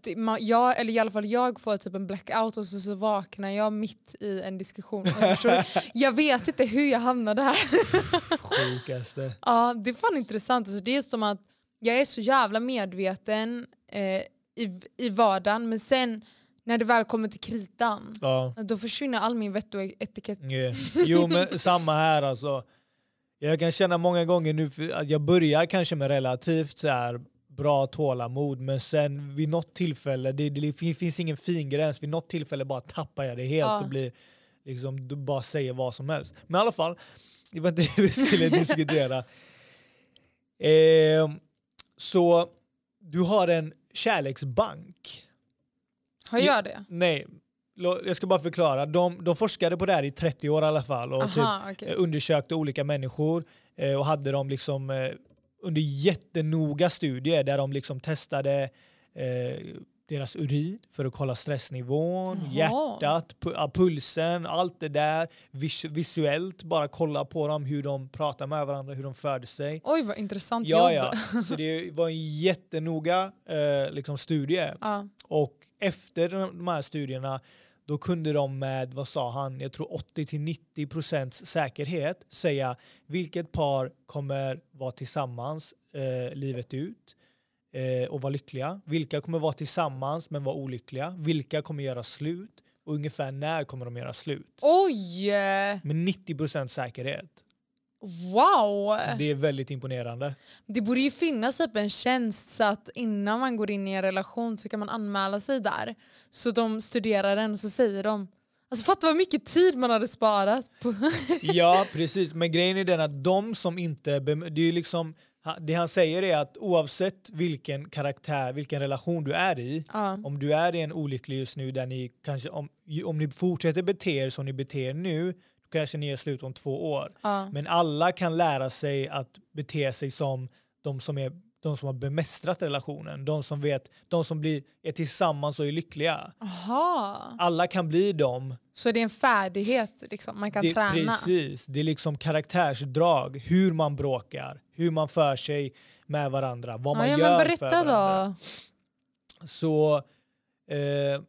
[SPEAKER 2] det, man, jag, eller i alla fall jag får typ en blackout och så, så vaknar jag mitt i en diskussion. Alltså, förstår du? jag vet inte hur jag hamnade här.
[SPEAKER 1] Sjukaste.
[SPEAKER 2] Ja, det är fan intressant. Alltså, det är som att jag är så jävla medveten eh, i, i vardagen men sen när det väl kommer till kritan
[SPEAKER 1] Ja.
[SPEAKER 2] då försvinner all min vett och e- etikett.
[SPEAKER 1] Yeah. Jo men samma här alltså. Jag kan känna många gånger nu för att jag börjar kanske med relativt så här bra tålamod men sen vid något tillfälle, det, det fin- finns ingen fin gräns, vid något tillfälle bara tappar jag det helt
[SPEAKER 2] Ja.
[SPEAKER 1] och blir liksom, du bara säger vad som helst. Men i alla fall, det var inte det vi skulle diskutera. Ehm, så du har en kärleksbank. Mm.
[SPEAKER 2] Har jag det?
[SPEAKER 1] Nej, lå- jag ska bara förklara. De, de forskade på det här i 30 år i alla fall och typ,
[SPEAKER 2] Aha, okej.
[SPEAKER 1] eh, undersökte olika människor eh, och hade dem liksom, eh, under jättenoga studier där de liksom testade eh, deras urin för att kolla stressnivån,
[SPEAKER 2] Jaha.
[SPEAKER 1] hjärtat, pu- ja, pulsen, allt det där. Vis- visuellt, bara kolla på dem, hur de pratar med varandra, hur de förde sig.
[SPEAKER 2] Oj vad intressant
[SPEAKER 1] Ja,
[SPEAKER 2] jobb.
[SPEAKER 1] ja. Så det var en jättenoga eh, liksom studie.
[SPEAKER 2] Ja.
[SPEAKER 1] Och efter de de här studierna då kunde de med, vad sa han, jag tror 80-90 procents säkerhet säga vilket par kommer vara tillsammans eh, livet ut eh, och vara lyckliga. Vilka kommer vara tillsammans men vara olyckliga. Vilka kommer göra slut och ungefär när kommer de göra slut.
[SPEAKER 2] Oj! eh,
[SPEAKER 1] Med 90 procents säkerhet.
[SPEAKER 2] Wow!
[SPEAKER 1] Det är väldigt imponerande.
[SPEAKER 2] Det borde ju finnas typ en tjänst så att innan man går in i en relation så kan man anmäla sig där. Så de studerar den och så säger de Alltså fatta vad mycket tid man hade sparat. På.
[SPEAKER 1] Ja, precis. Men grejen är den att de som inte... bem- Det, är ju liksom, ha- det han säger är att oavsett vilken karaktär, vilken relation du är i, om du är i en olycklig just nu där ni kanske... Om, ju- om ni fortsätter bete er som ni beter er nu då kanske ni är slut om två år. Men alla kan lära sig att bete sig som de som är de som har bemästrat relationen, de som vet, de som blir, är tillsammans och är lyckliga.
[SPEAKER 2] Aha.
[SPEAKER 1] Alla kan bli dem
[SPEAKER 2] Så det är en färdighet liksom. man kan
[SPEAKER 1] det,
[SPEAKER 2] träna.
[SPEAKER 1] Precis, det är liksom karaktärsdrag, hur man bråkar, hur man för sig med varandra, vad man
[SPEAKER 2] ja, ja,
[SPEAKER 1] gör
[SPEAKER 2] men
[SPEAKER 1] för
[SPEAKER 2] berätta
[SPEAKER 1] varandra.
[SPEAKER 2] då.
[SPEAKER 1] Så eh,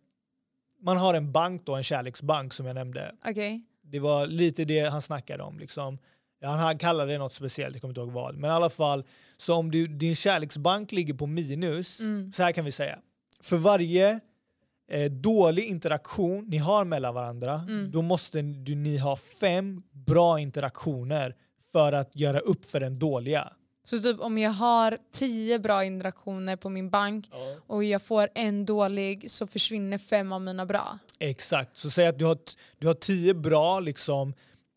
[SPEAKER 1] man har en bank då, en kärleksbank som jag nämnde.
[SPEAKER 2] Okej.
[SPEAKER 1] Det var lite det han snackade om. Liksom. Han, han kallade det något speciellt, jag kommer inte ihåg vad. Men i alla fall, så om du, din kärleksbank ligger på minus, så här kan vi säga. För varje eh, dålig interaktion ni har mellan varandra, då måste du, ni ha fem bra interaktioner för att göra upp för den dåliga.
[SPEAKER 2] Så typ om jag har tio bra interaktioner på min bank och jag får en dålig så försvinner fem av mina bra.
[SPEAKER 1] Exakt, så säg att du har, t- du har tio bra liksom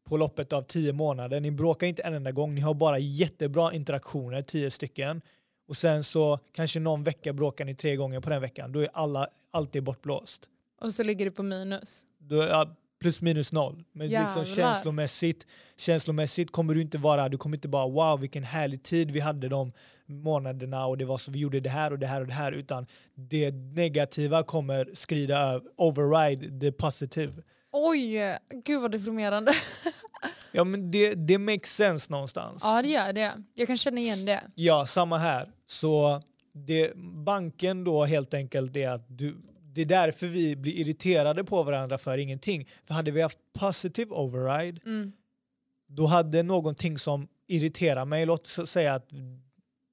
[SPEAKER 1] på loppet av tio månader. Ni bråkar inte en enda gång, ni har bara jättebra interaktioner, tio stycken. Och sen så kanske någon vecka bråkar ni tre gånger på den veckan. Då är alla, allt är bortblåst.
[SPEAKER 2] Och så ligger det på minus.
[SPEAKER 1] Då är, ja, plus minus noll. Men liksom
[SPEAKER 2] Jävlar.
[SPEAKER 1] känslomässigt, känslomässigt kommer du inte vara, du kommer inte bara wow vilken härlig tid vi hade de månaderna och det var så vi gjorde det här och det här och det här utan det negativa kommer skrida över, override det positiva.
[SPEAKER 2] Oj, gud vad deprimerande.
[SPEAKER 1] Ja men det, det makes sense någonstans.
[SPEAKER 2] ja det gör det. Jag kan känna igen det.
[SPEAKER 1] Ja, samma här. Så det, banken då helt enkelt är att du, det är därför vi blir irriterade på varandra för ingenting. För hade vi haft positive override då hade någonting som irriterar mig, låt s- säga att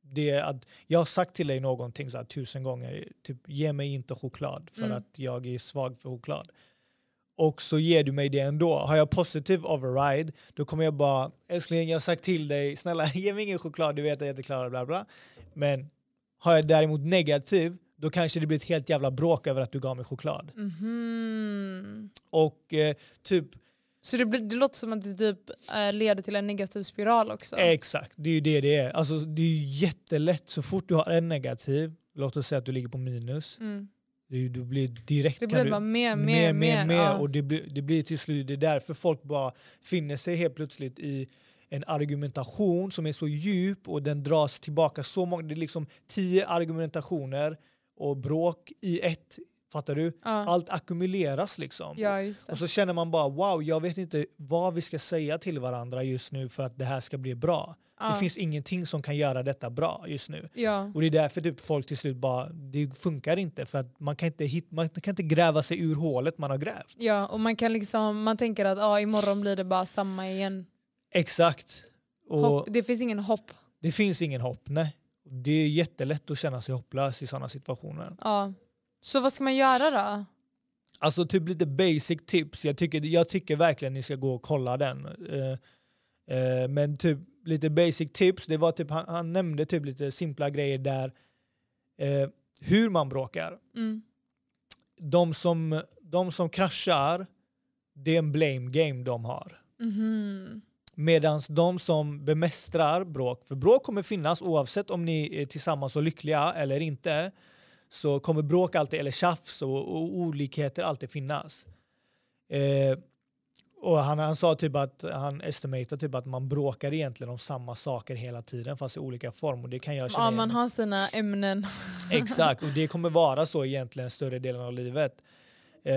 [SPEAKER 1] det är att jag har sagt till dig någonting så här tusen gånger, typ ge mig inte choklad för att jag är svag för choklad. Och så ger du mig det ändå. Har jag positive override, då kommer jag bara, älskling jag har sagt till dig, snälla ge mig ingen choklad, du vet att jag inte klarar det, bla bla. Men har jag däremot negativ, då kanske det blir ett helt jävla bråk över att du gav mig choklad.
[SPEAKER 2] Mhm.
[SPEAKER 1] Och eh, typ,
[SPEAKER 2] Så det, blir, det låter som att det typ eh, leder till en negativ spiral också.
[SPEAKER 1] Exakt, det är ju det det är. Alltså, det är ju jättelätt så fort du har en negativ, låt oss säga att du ligger på minus,
[SPEAKER 2] Mm.
[SPEAKER 1] du, du blir direkt...
[SPEAKER 2] Det
[SPEAKER 1] kan
[SPEAKER 2] blir
[SPEAKER 1] du,
[SPEAKER 2] bara mer, mer, mer. ja.
[SPEAKER 1] och det blir, det blir till slut, det är därför folk bara finner sig helt plötsligt i en argumentation som är så djup och den dras tillbaka så många, det är liksom tio argumentationer och bråk i ett, fattar du? Allt ackumuleras liksom.
[SPEAKER 2] ja, just det.
[SPEAKER 1] Och så känner man bara wow, jag vet inte vad vi ska säga till varandra just nu för att det här ska bli bra. Det finns ingenting som kan göra detta bra just nu.
[SPEAKER 2] ja.
[SPEAKER 1] Och det är därför typ folk till slut bara, det funkar inte för att man kan inte, hit, man kan inte gräva sig ur hålet man har grävt.
[SPEAKER 2] ja, och man kan liksom, man tänker att ah, imorgon blir det bara samma igen.
[SPEAKER 1] Exakt. Och
[SPEAKER 2] Hopp, det finns ingen hopp.
[SPEAKER 1] det finns ingen hopp, nej. Det är jättelätt att känna sig hopplös i sådana situationer.
[SPEAKER 2] Ja. Så vad ska man göra då?
[SPEAKER 1] Alltså typ lite basic tips. Jag tycker, jag tycker verkligen ni ska gå och kolla den. Eh, eh, men typ lite basic tips, det var typ, han, han nämnde typ lite simpla grejer där. Eh, hur man bråkar.
[SPEAKER 2] Mm.
[SPEAKER 1] De som, de som kraschar, det är en blame game de har.
[SPEAKER 2] Mhm.
[SPEAKER 1] Medan de som bemästrar bråk, för bråk kommer finnas oavsett om ni är tillsammans och lyckliga eller inte, så kommer bråk alltid, eller tjafs och, och olikheter alltid finnas. Eh, och han, han sa typ att han estimatear typ att man bråkar egentligen om samma saker hela tiden fast i olika form och det kan jag känna
[SPEAKER 2] Ja,
[SPEAKER 1] igen
[SPEAKER 2] man
[SPEAKER 1] mig.
[SPEAKER 2] har sina ämnen.
[SPEAKER 1] Exakt, och det kommer vara så egentligen större delen av livet. Eh,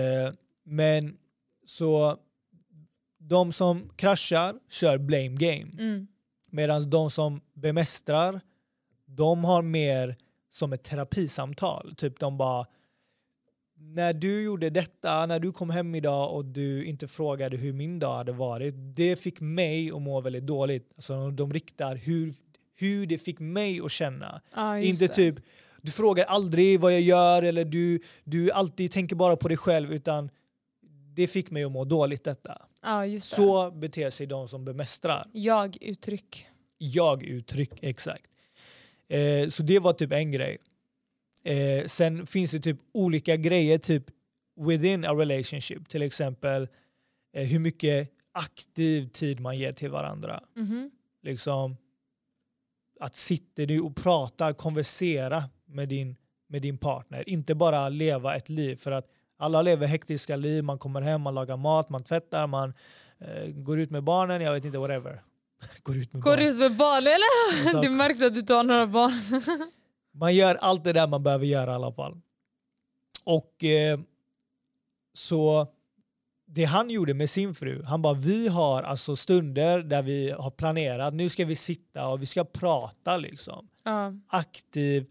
[SPEAKER 1] men så de som kraschar kör blame game.
[SPEAKER 2] Mm.
[SPEAKER 1] Medan de som bemästrar, de har mer som ett terapisamtal. Typ de bara när du gjorde detta, när du kom hem idag och du inte frågade hur min dag hade varit, det fick mig att må väldigt dåligt. Alltså de riktar hur, hur det fick mig att känna.
[SPEAKER 2] Ja, just
[SPEAKER 1] inte
[SPEAKER 2] det.
[SPEAKER 1] typ, du frågar aldrig vad jag gör eller du, du alltid tänker bara på dig själv utan det fick mig att må dåligt detta.
[SPEAKER 2] Ja, just det.
[SPEAKER 1] Så beter sig de som bemästrar.
[SPEAKER 2] Jag-uttryck.
[SPEAKER 1] Jag-uttryck, exakt. Eh, så det var typ en grej. Eh, sen finns det typ olika grejer typ within a relationship. Till exempel eh, hur mycket aktiv tid man ger till varandra.
[SPEAKER 2] Mm-hmm.
[SPEAKER 1] Liksom att sitta du och prata, konversera med din, med din partner. Inte bara leva ett liv. För att alla lever hektiska liv, man kommer hem, man lagar mat, man tvättar, man eh, går ut med barnen, jag vet inte, whatever. går ut med
[SPEAKER 2] Går
[SPEAKER 1] barnen.
[SPEAKER 2] du ut med barn eller?
[SPEAKER 1] Exakt.
[SPEAKER 2] Det märks att du inte har några barn.
[SPEAKER 1] Man gör allt det där man behöver göra i alla fall. Och eh, så det han gjorde med sin fru, han bara vi har alltså stunder där vi har planerat, nu ska vi sitta och vi ska prata liksom.
[SPEAKER 2] Ja,
[SPEAKER 1] Aktiv,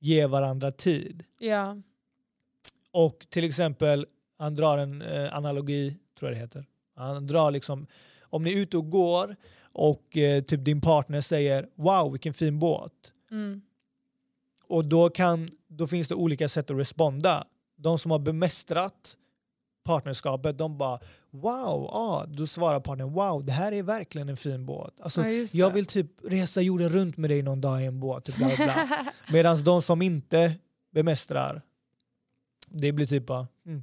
[SPEAKER 1] ge varandra tid.
[SPEAKER 2] ja.
[SPEAKER 1] Och till exempel, han drar en eh, analogi, tror jag det heter. Han drar liksom, om ni är ute och går och eh, typ din partner säger “Wow, vilken fin båt”.
[SPEAKER 2] Mm.
[SPEAKER 1] Och då, kan, då finns det olika sätt att responda. De som har bemästrat partnerskapet, de bara “Wow, ja”. Då svarar partnern “Wow, det här är verkligen en fin båt”. Alltså,
[SPEAKER 2] Ja, just
[SPEAKER 1] jag
[SPEAKER 2] det.
[SPEAKER 1] vill typ resa jorden runt med dig någon dag i en båt. Typ, bla, bla, bla. Medan de som inte bemästrar, det blir typ bara... Mm,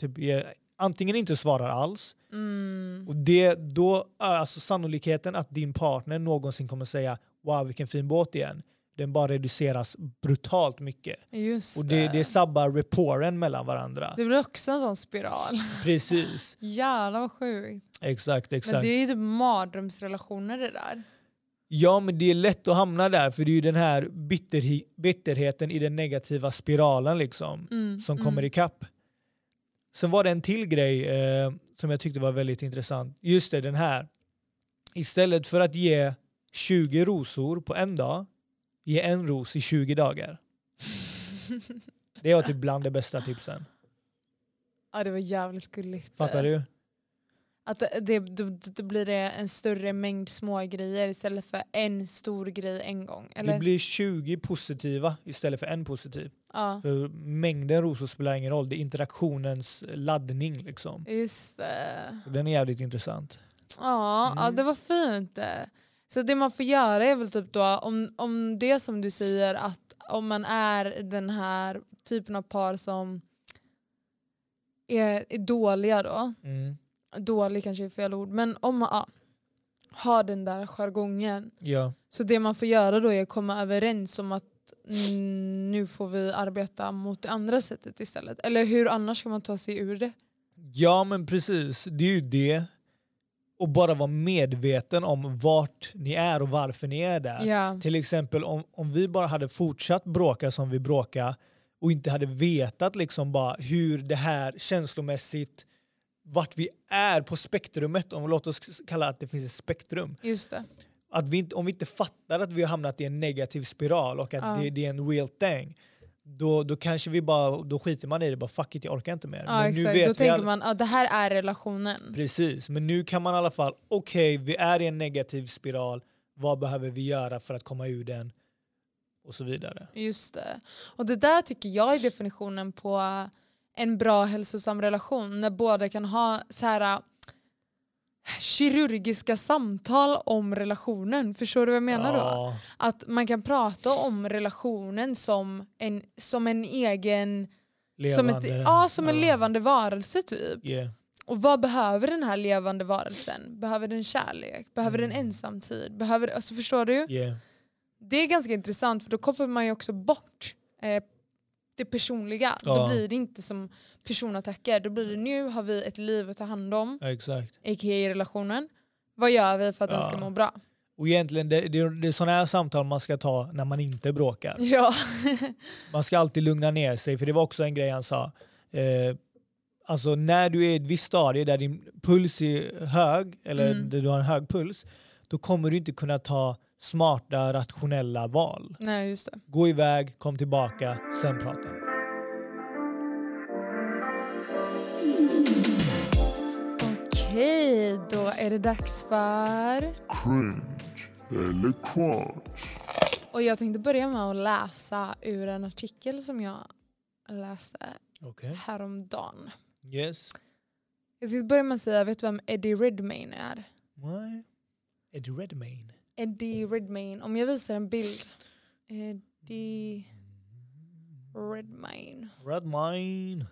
[SPEAKER 1] typ, eh, antingen inte svarar alls, och det, då är alltså sannolikheten att din partner någonsin kommer säga “Wow, vilken fin båt igen” den bara reduceras brutalt mycket.
[SPEAKER 2] Just
[SPEAKER 1] Och
[SPEAKER 2] det.
[SPEAKER 1] det, det sabbar reporen mellan varandra.
[SPEAKER 2] Det blir också en sån spiral.
[SPEAKER 1] Precis.
[SPEAKER 2] Jävlar vad sjukt.
[SPEAKER 1] Exakt,
[SPEAKER 2] Men
[SPEAKER 1] exakt.
[SPEAKER 2] det är ju typ mardrömsrelationer det där.
[SPEAKER 1] Ja, men det är lätt att hamna där för det är ju den här bitterhi- bitterheten i den negativa spiralen liksom som kommer ikapp. Sen var det en till grej eh, som jag tyckte var väldigt intressant. Just det, den här. Istället för att ge 20 rosor på en dag, ge en ros i 20 dagar. Det var typ bland de bästa tipsen.
[SPEAKER 2] Ja, det var jävligt gulligt.
[SPEAKER 1] Fattar du?
[SPEAKER 2] Att det, det, då, då blir det en större mängd små grejer istället för en stor grej en gång.
[SPEAKER 1] Det
[SPEAKER 2] Eller?
[SPEAKER 1] blir 20 positiva istället för en positiv.
[SPEAKER 2] ja,
[SPEAKER 1] För mängden rosor spelar ingen roll, det är interaktionens laddning liksom.
[SPEAKER 2] just det.
[SPEAKER 1] Den är jävligt intressant.
[SPEAKER 2] Ja, ja,
[SPEAKER 1] Mm.
[SPEAKER 2] det var fint. Så det man får göra är väl typ då om, om det som du säger att om man är den här typen av par som är, är dåliga då.
[SPEAKER 1] Mm.
[SPEAKER 2] Dålig kanske är fel ord men om man ja, har den där jargongen
[SPEAKER 1] Ja.
[SPEAKER 2] Så det man får göra då är att komma överens om att mm, nu får vi arbeta mot det andra sättet istället. Eller hur annars ska man ta sig ur det?
[SPEAKER 1] ja men precis, det är ju det. Och bara vara medveten om vart ni är och varför ni är där.
[SPEAKER 2] Ja.
[SPEAKER 1] Till exempel om, om vi bara hade fortsatt bråka som vi bråkade och inte hade vetat liksom bara hur det här känslomässigt, vart vi är på spektrumet, om låt oss kalla att det finns ett spektrum.
[SPEAKER 2] Just det.
[SPEAKER 1] att vi inte, om vi inte fattar att vi har hamnat i en negativ spiral och att det, det är en real thing, då, då kanske vi bara, då skiter man i det bara fuck it jag orkar inte mer.
[SPEAKER 2] Ja,
[SPEAKER 1] nu
[SPEAKER 2] exakt. Då
[SPEAKER 1] vi
[SPEAKER 2] tänker
[SPEAKER 1] all-
[SPEAKER 2] man att det här är relationen.
[SPEAKER 1] Precis, men nu kan man i alla fall, okej vi är i en negativ spiral, vad behöver vi göra för att komma ur den? Och så vidare.
[SPEAKER 2] Just det. Och det där tycker jag är definitionen på en bra hälsosam relation. När båda kan ha så här äh, kirurgiska samtal om relationen. Förstår du vad jag menar då?
[SPEAKER 1] Ja,
[SPEAKER 2] Att man kan prata om relationen som en, som en egen Som, ett,
[SPEAKER 1] levande.
[SPEAKER 2] ja, som en levande varelse typ.
[SPEAKER 1] Yeah.
[SPEAKER 2] Och vad behöver den här levande varelsen? Behöver den kärlek? Behöver den
[SPEAKER 1] Mm.
[SPEAKER 2] ensamtid? Behöver, alltså förstår du?
[SPEAKER 1] Yeah.
[SPEAKER 2] Det är ganska intressant för då kopplar man ju också bort eh, det personliga. Då
[SPEAKER 1] Ja.
[SPEAKER 2] blir det inte som personattacker. Då blir det nu har vi ett liv att ta hand om,
[SPEAKER 1] ja, exakt.
[SPEAKER 2] a.k.a. relationen. Vad gör vi för att den ska
[SPEAKER 1] Ja.
[SPEAKER 2] må bra?
[SPEAKER 1] Och egentligen, det, det, det är sådana här samtal man ska ta när man inte bråkar.
[SPEAKER 2] Ja.
[SPEAKER 1] Man ska alltid lugna ner sig, för det var också en grej han sa. Eh, alltså när du är i ett visst stadie där din puls är hög, eller
[SPEAKER 2] Mm.
[SPEAKER 1] där du har en hög puls, då kommer du inte kunna ta smarta, rationella val.
[SPEAKER 2] Nej, just det.
[SPEAKER 1] Gå iväg, kom tillbaka, sen prata.
[SPEAKER 2] Okej, då är det dags för...
[SPEAKER 9] Cringe eller kvar?
[SPEAKER 2] Och jag tänkte börja med att läsa ur en artikel som jag läste
[SPEAKER 1] Okej.
[SPEAKER 2] häromdagen.
[SPEAKER 1] Yes.
[SPEAKER 2] Jag tänkte börja med att säga, vet du vem Eddie Redmayne är?
[SPEAKER 1] Why? Eddie Redmayne.
[SPEAKER 2] Eddie Redmayne, om jag visar en bild. Eddie Redmayne.
[SPEAKER 1] Redmayne.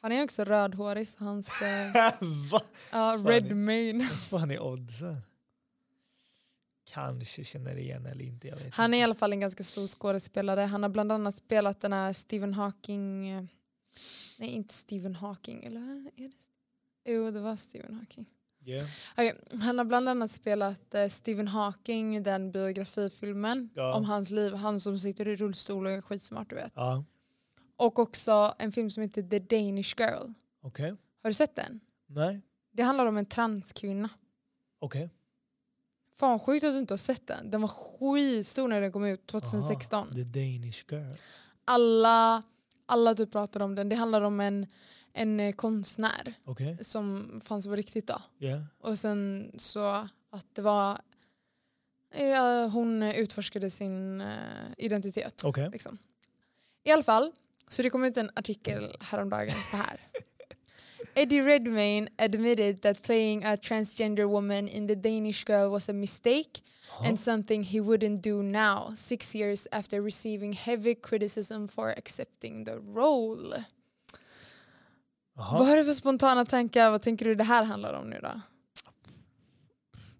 [SPEAKER 2] Han är också rödhårig så hans... eh,
[SPEAKER 1] Va?
[SPEAKER 2] Ja,
[SPEAKER 1] Sorry.
[SPEAKER 2] Redmayne.
[SPEAKER 1] Vad fan är oddsen? Kanske känner igen eller inte. Jag vet
[SPEAKER 2] Han är i
[SPEAKER 1] inte.
[SPEAKER 2] alla fall en ganska stor skådespelare. Han har bland annat spelat den här Stephen Hawking... eh, Nej, inte Stephen Hawking. Eller vad är det? Jo, det var Stephen Hawking.
[SPEAKER 1] Yeah.
[SPEAKER 2] Okej, Han har bland annat spelat eh, Stephen Hawking i den biografifilmen
[SPEAKER 1] Ja.
[SPEAKER 2] om hans liv. Han som sitter i rullstol och är skitsmart, du vet.
[SPEAKER 1] Ja,
[SPEAKER 2] Och också en film som heter The Danish Girl.
[SPEAKER 1] okej.
[SPEAKER 2] Har du sett den?
[SPEAKER 1] Nej,
[SPEAKER 2] Det handlar om en transkvinna.
[SPEAKER 1] okej.
[SPEAKER 2] Fan sjukt att du inte har sett den. Den var skitstor när den kom ut
[SPEAKER 1] Aha,
[SPEAKER 2] 2016.
[SPEAKER 1] The Danish girl.
[SPEAKER 2] alla, alla typ pratar om den. Det handlar om en, en eh, konstnär
[SPEAKER 1] Okej,
[SPEAKER 2] som fanns på riktigt då.
[SPEAKER 1] yeah.
[SPEAKER 2] Och sen så att det var eh, hon utforskade sin eh, identitet.
[SPEAKER 1] Okej.
[SPEAKER 2] Liksom. I alla fall, så det kom ut en artikel häromdagen så här. Eddie Redmayne admitted that playing a transgender woman in The Danish Girl was a mistake and something he wouldn't do now, six years after receiving heavy criticism for accepting the role.
[SPEAKER 1] Jaha.
[SPEAKER 2] Vad har du för spontana tankar? Vad tänker du det här handlar om nu då?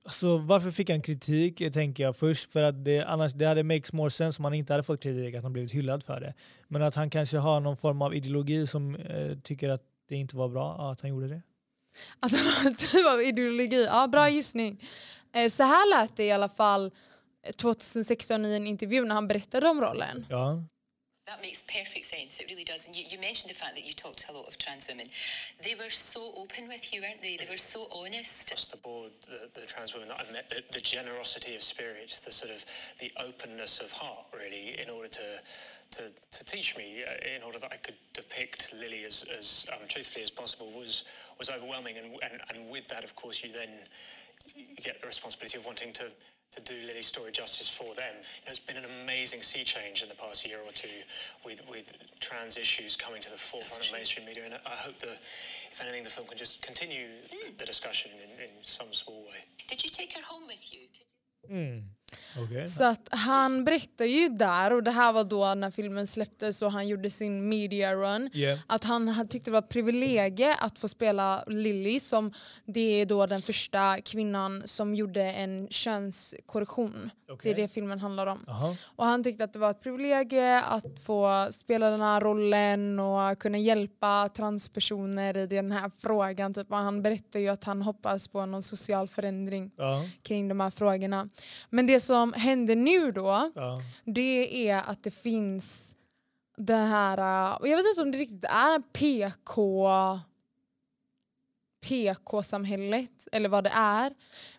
[SPEAKER 1] Alltså, varför fick han kritik eh, tänker jag först. För att det, annars, det hade makes more sense om han inte hade fått kritik, att han blivit hyllad för det. Men att han kanske har någon form av ideologi som eh, tycker att det inte var bra ja, att han gjorde det.
[SPEAKER 2] Att han har en typ av ideologi. Ja, bra gissning. Eh, Så här lät det i alla fall eh, 2016 i en intervju när han berättade om rollen.
[SPEAKER 1] Ja,
[SPEAKER 10] That makes perfect sense. It really does. And you, you mentioned the fact that you talked to a lot of trans women. They were so open with you, weren't they? They were so honest.
[SPEAKER 11] across the board, the, the trans women that I've met, the, the generosity of spirit, the sort of the openness of heart, really, in order to to, to teach me, uh, in order that I could depict Lily as, as um, truthfully as possible, was was overwhelming. And, and and with that, of course, you then get the responsibility of wanting to. To do Lily's story justice for them, you know, it's been an amazing sea change in the past year or two, with with trans issues coming to the forefront of mainstream media, and I I hope that, if anything, the film can just continue th- the discussion in, in some small way.
[SPEAKER 10] Did you take her home with you?
[SPEAKER 1] okej.
[SPEAKER 2] Så att han berättar ju där, och det här var då när filmen släpptes och han gjorde sin media run,
[SPEAKER 1] Yeah.
[SPEAKER 2] att han hade tyckte det var ett privilegie att få spela Lily som det är då den första kvinnan som gjorde en könskorrektion.
[SPEAKER 1] Okej.
[SPEAKER 2] Det är det filmen handlar om.
[SPEAKER 1] Jaha.
[SPEAKER 2] Och han tyckte att det var ett privilegie att få spela den här rollen och kunna hjälpa transpersoner i den här frågan. Typ. Och han berättar ju att han hoppas på någon social förändring
[SPEAKER 1] Ja,
[SPEAKER 2] kring de här frågorna. Men det som händer nu då,
[SPEAKER 1] ja.
[SPEAKER 2] det är att det finns det här, uh, och jag vet inte om det riktigt är en PK PK-samhället eller vad det är.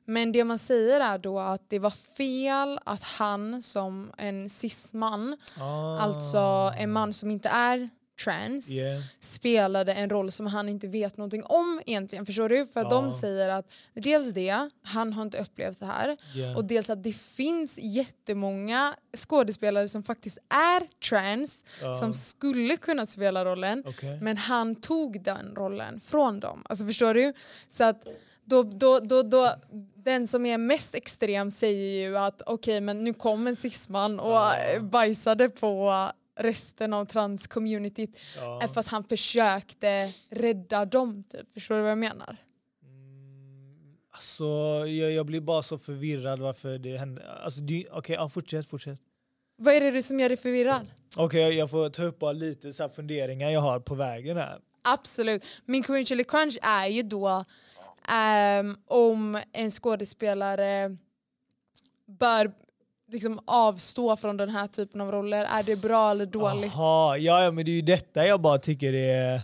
[SPEAKER 2] Men det man säger är då att det var fel att han som en cis-man,
[SPEAKER 1] Ah.
[SPEAKER 2] alltså en man som inte är trans,
[SPEAKER 1] Yeah.
[SPEAKER 2] spelade en roll som han inte vet någonting om egentligen. Förstår du? För att
[SPEAKER 1] Ja.
[SPEAKER 2] de säger att dels det, han har inte upplevt det här.
[SPEAKER 1] Yeah.
[SPEAKER 2] Och dels att det finns jättemånga skådespelare som faktiskt är trans som skulle kunna spela rollen.
[SPEAKER 1] Okej.
[SPEAKER 2] Men han tog den rollen från dem. Alltså förstår du? Så att då, då, då, då, den som är mest extrem säger ju att okej men nu kom en cisman och eh, bajsade på resten av transcommunityt
[SPEAKER 1] Ja.
[SPEAKER 2] Eh, fast han försökte rädda dem typ. Förstår du vad jag menar?
[SPEAKER 1] Alltså, jag, jag blir bara så förvirrad varför det hände. Alltså, det- Okej, ja, fortsätt, fortsätt.
[SPEAKER 2] Vad är det du som gör dig förvirrad?
[SPEAKER 1] Okej, jag- jag får ta upp bara lite så här funderingar jag har på vägen här.
[SPEAKER 2] Absolut. Min cringe eller crunch är ju då ehm, om en skådespelare bör liksom avstå från den här typen av roller? Är det bra eller dåligt?
[SPEAKER 1] Jaha, ja, ja men det är ju detta jag bara tycker är...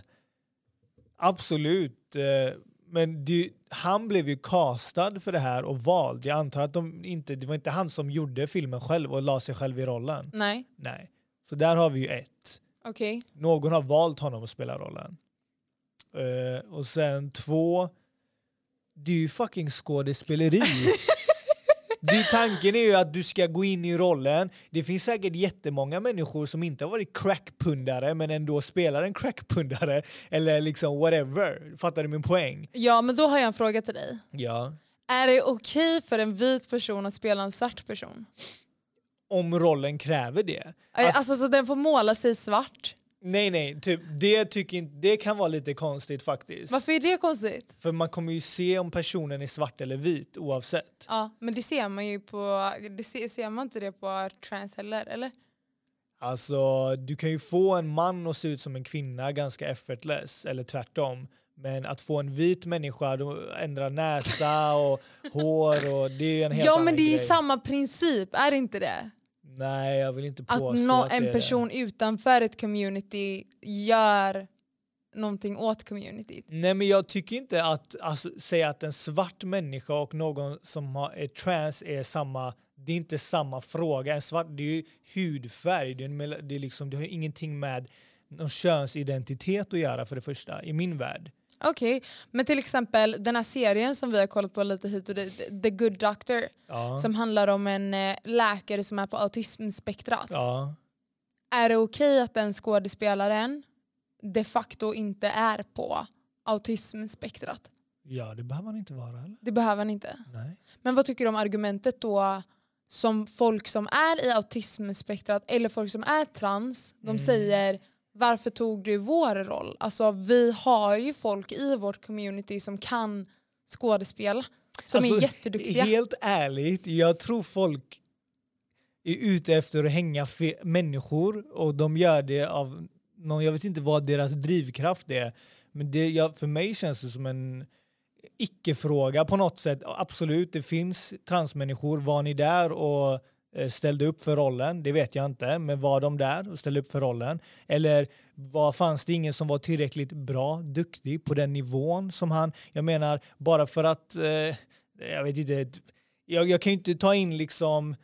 [SPEAKER 1] Absolut. eh, Men det, han blev ju castad för det här och vald. Jag antar att de inte, det var inte han som gjorde filmen själv och la sig själv i rollen.
[SPEAKER 2] Nej,
[SPEAKER 1] Nej. Så där har vi ju ett.
[SPEAKER 2] okej.
[SPEAKER 1] Någon har valt honom att spela rollen. Eh, och sen två, det är ju fucking skådespeleri. det, tanken är ju att du ska gå in i rollen. Det finns säkert jättemånga människor som inte har varit crackpundare men ändå spelar en crackpundare eller liksom whatever. Fattar du min poäng?
[SPEAKER 2] Ja, men då har jag en fråga till dig.
[SPEAKER 1] Ja.
[SPEAKER 2] Är det okej för en vit person att spela en svart person?
[SPEAKER 1] Om rollen kräver det.
[SPEAKER 2] Alltså, alltså så den får måla sig svart?
[SPEAKER 1] Nej nej, typ, det, tycker inte, det kan vara lite konstigt faktiskt.
[SPEAKER 2] Varför är det konstigt?
[SPEAKER 1] För man kommer ju se om personen är svart eller vit oavsett.
[SPEAKER 2] Ja, men det ser man ju på... Det ser, ser man inte det på trans heller, eller?
[SPEAKER 1] Alltså, du kan ju få en man att se ut som en kvinna ganska effortless, eller tvärtom. Men att få en vit människa att ändra näsa och hår, och det är ju en helt
[SPEAKER 2] Ja,
[SPEAKER 1] annan
[SPEAKER 2] men det är ju
[SPEAKER 1] grej.
[SPEAKER 2] samma princip, är det inte det?
[SPEAKER 1] Nej, jag vill inte
[SPEAKER 2] Att
[SPEAKER 1] påstå
[SPEAKER 2] nå-
[SPEAKER 1] att det
[SPEAKER 2] en
[SPEAKER 1] är-
[SPEAKER 2] person utanför ett community gör någonting åt communityt.
[SPEAKER 1] Nej men jag tycker inte att alltså, säga att en svart människa och någon som har, är trans är samma, det är inte samma fråga. En svart, det är ju hudfärg, det, är en, mel- det, är liksom, det har ju ingenting med någon könsidentitet att göra för det första, i min värld.
[SPEAKER 2] Okej, men till exempel den här serien som vi har kollat på lite hit och dit, The Good Doctor,
[SPEAKER 1] Ja.
[SPEAKER 2] som handlar om en eh, läkare som är på autismspektrat.
[SPEAKER 1] Ja.
[SPEAKER 2] Är det okej att den skådespelaren de facto inte är på autismspektrat?
[SPEAKER 1] ja, det behöver man inte vara eller?
[SPEAKER 2] Det behöver han inte.
[SPEAKER 1] Nej.
[SPEAKER 2] Men vad tycker du om argumentet då som folk som är i autismspektrat eller folk som är trans, de
[SPEAKER 1] Mm.
[SPEAKER 2] säger varför tog du vår roll? Alltså vi har ju folk i vårt community som kan skådespela, som är
[SPEAKER 1] Alltså,
[SPEAKER 2] jätteduktiga.
[SPEAKER 1] Helt ärligt, jag tror folk är ute efter att hänga fe- människor och de gör det av någon, jag vet inte vad deras drivkraft är. Men det, jag, för mig känns det som en icke-fråga på något sätt. Absolut, det finns transmänniskor. Var ni där och eh, ställde upp för rollen? Det vet jag inte, men var de där och ställde upp för rollen? Eller var, fanns det ingen som var tillräckligt bra, duktig på den nivån som han? Jag menar, bara för att, eh, jag vet inte, jag, jag kan ju inte ta in liksom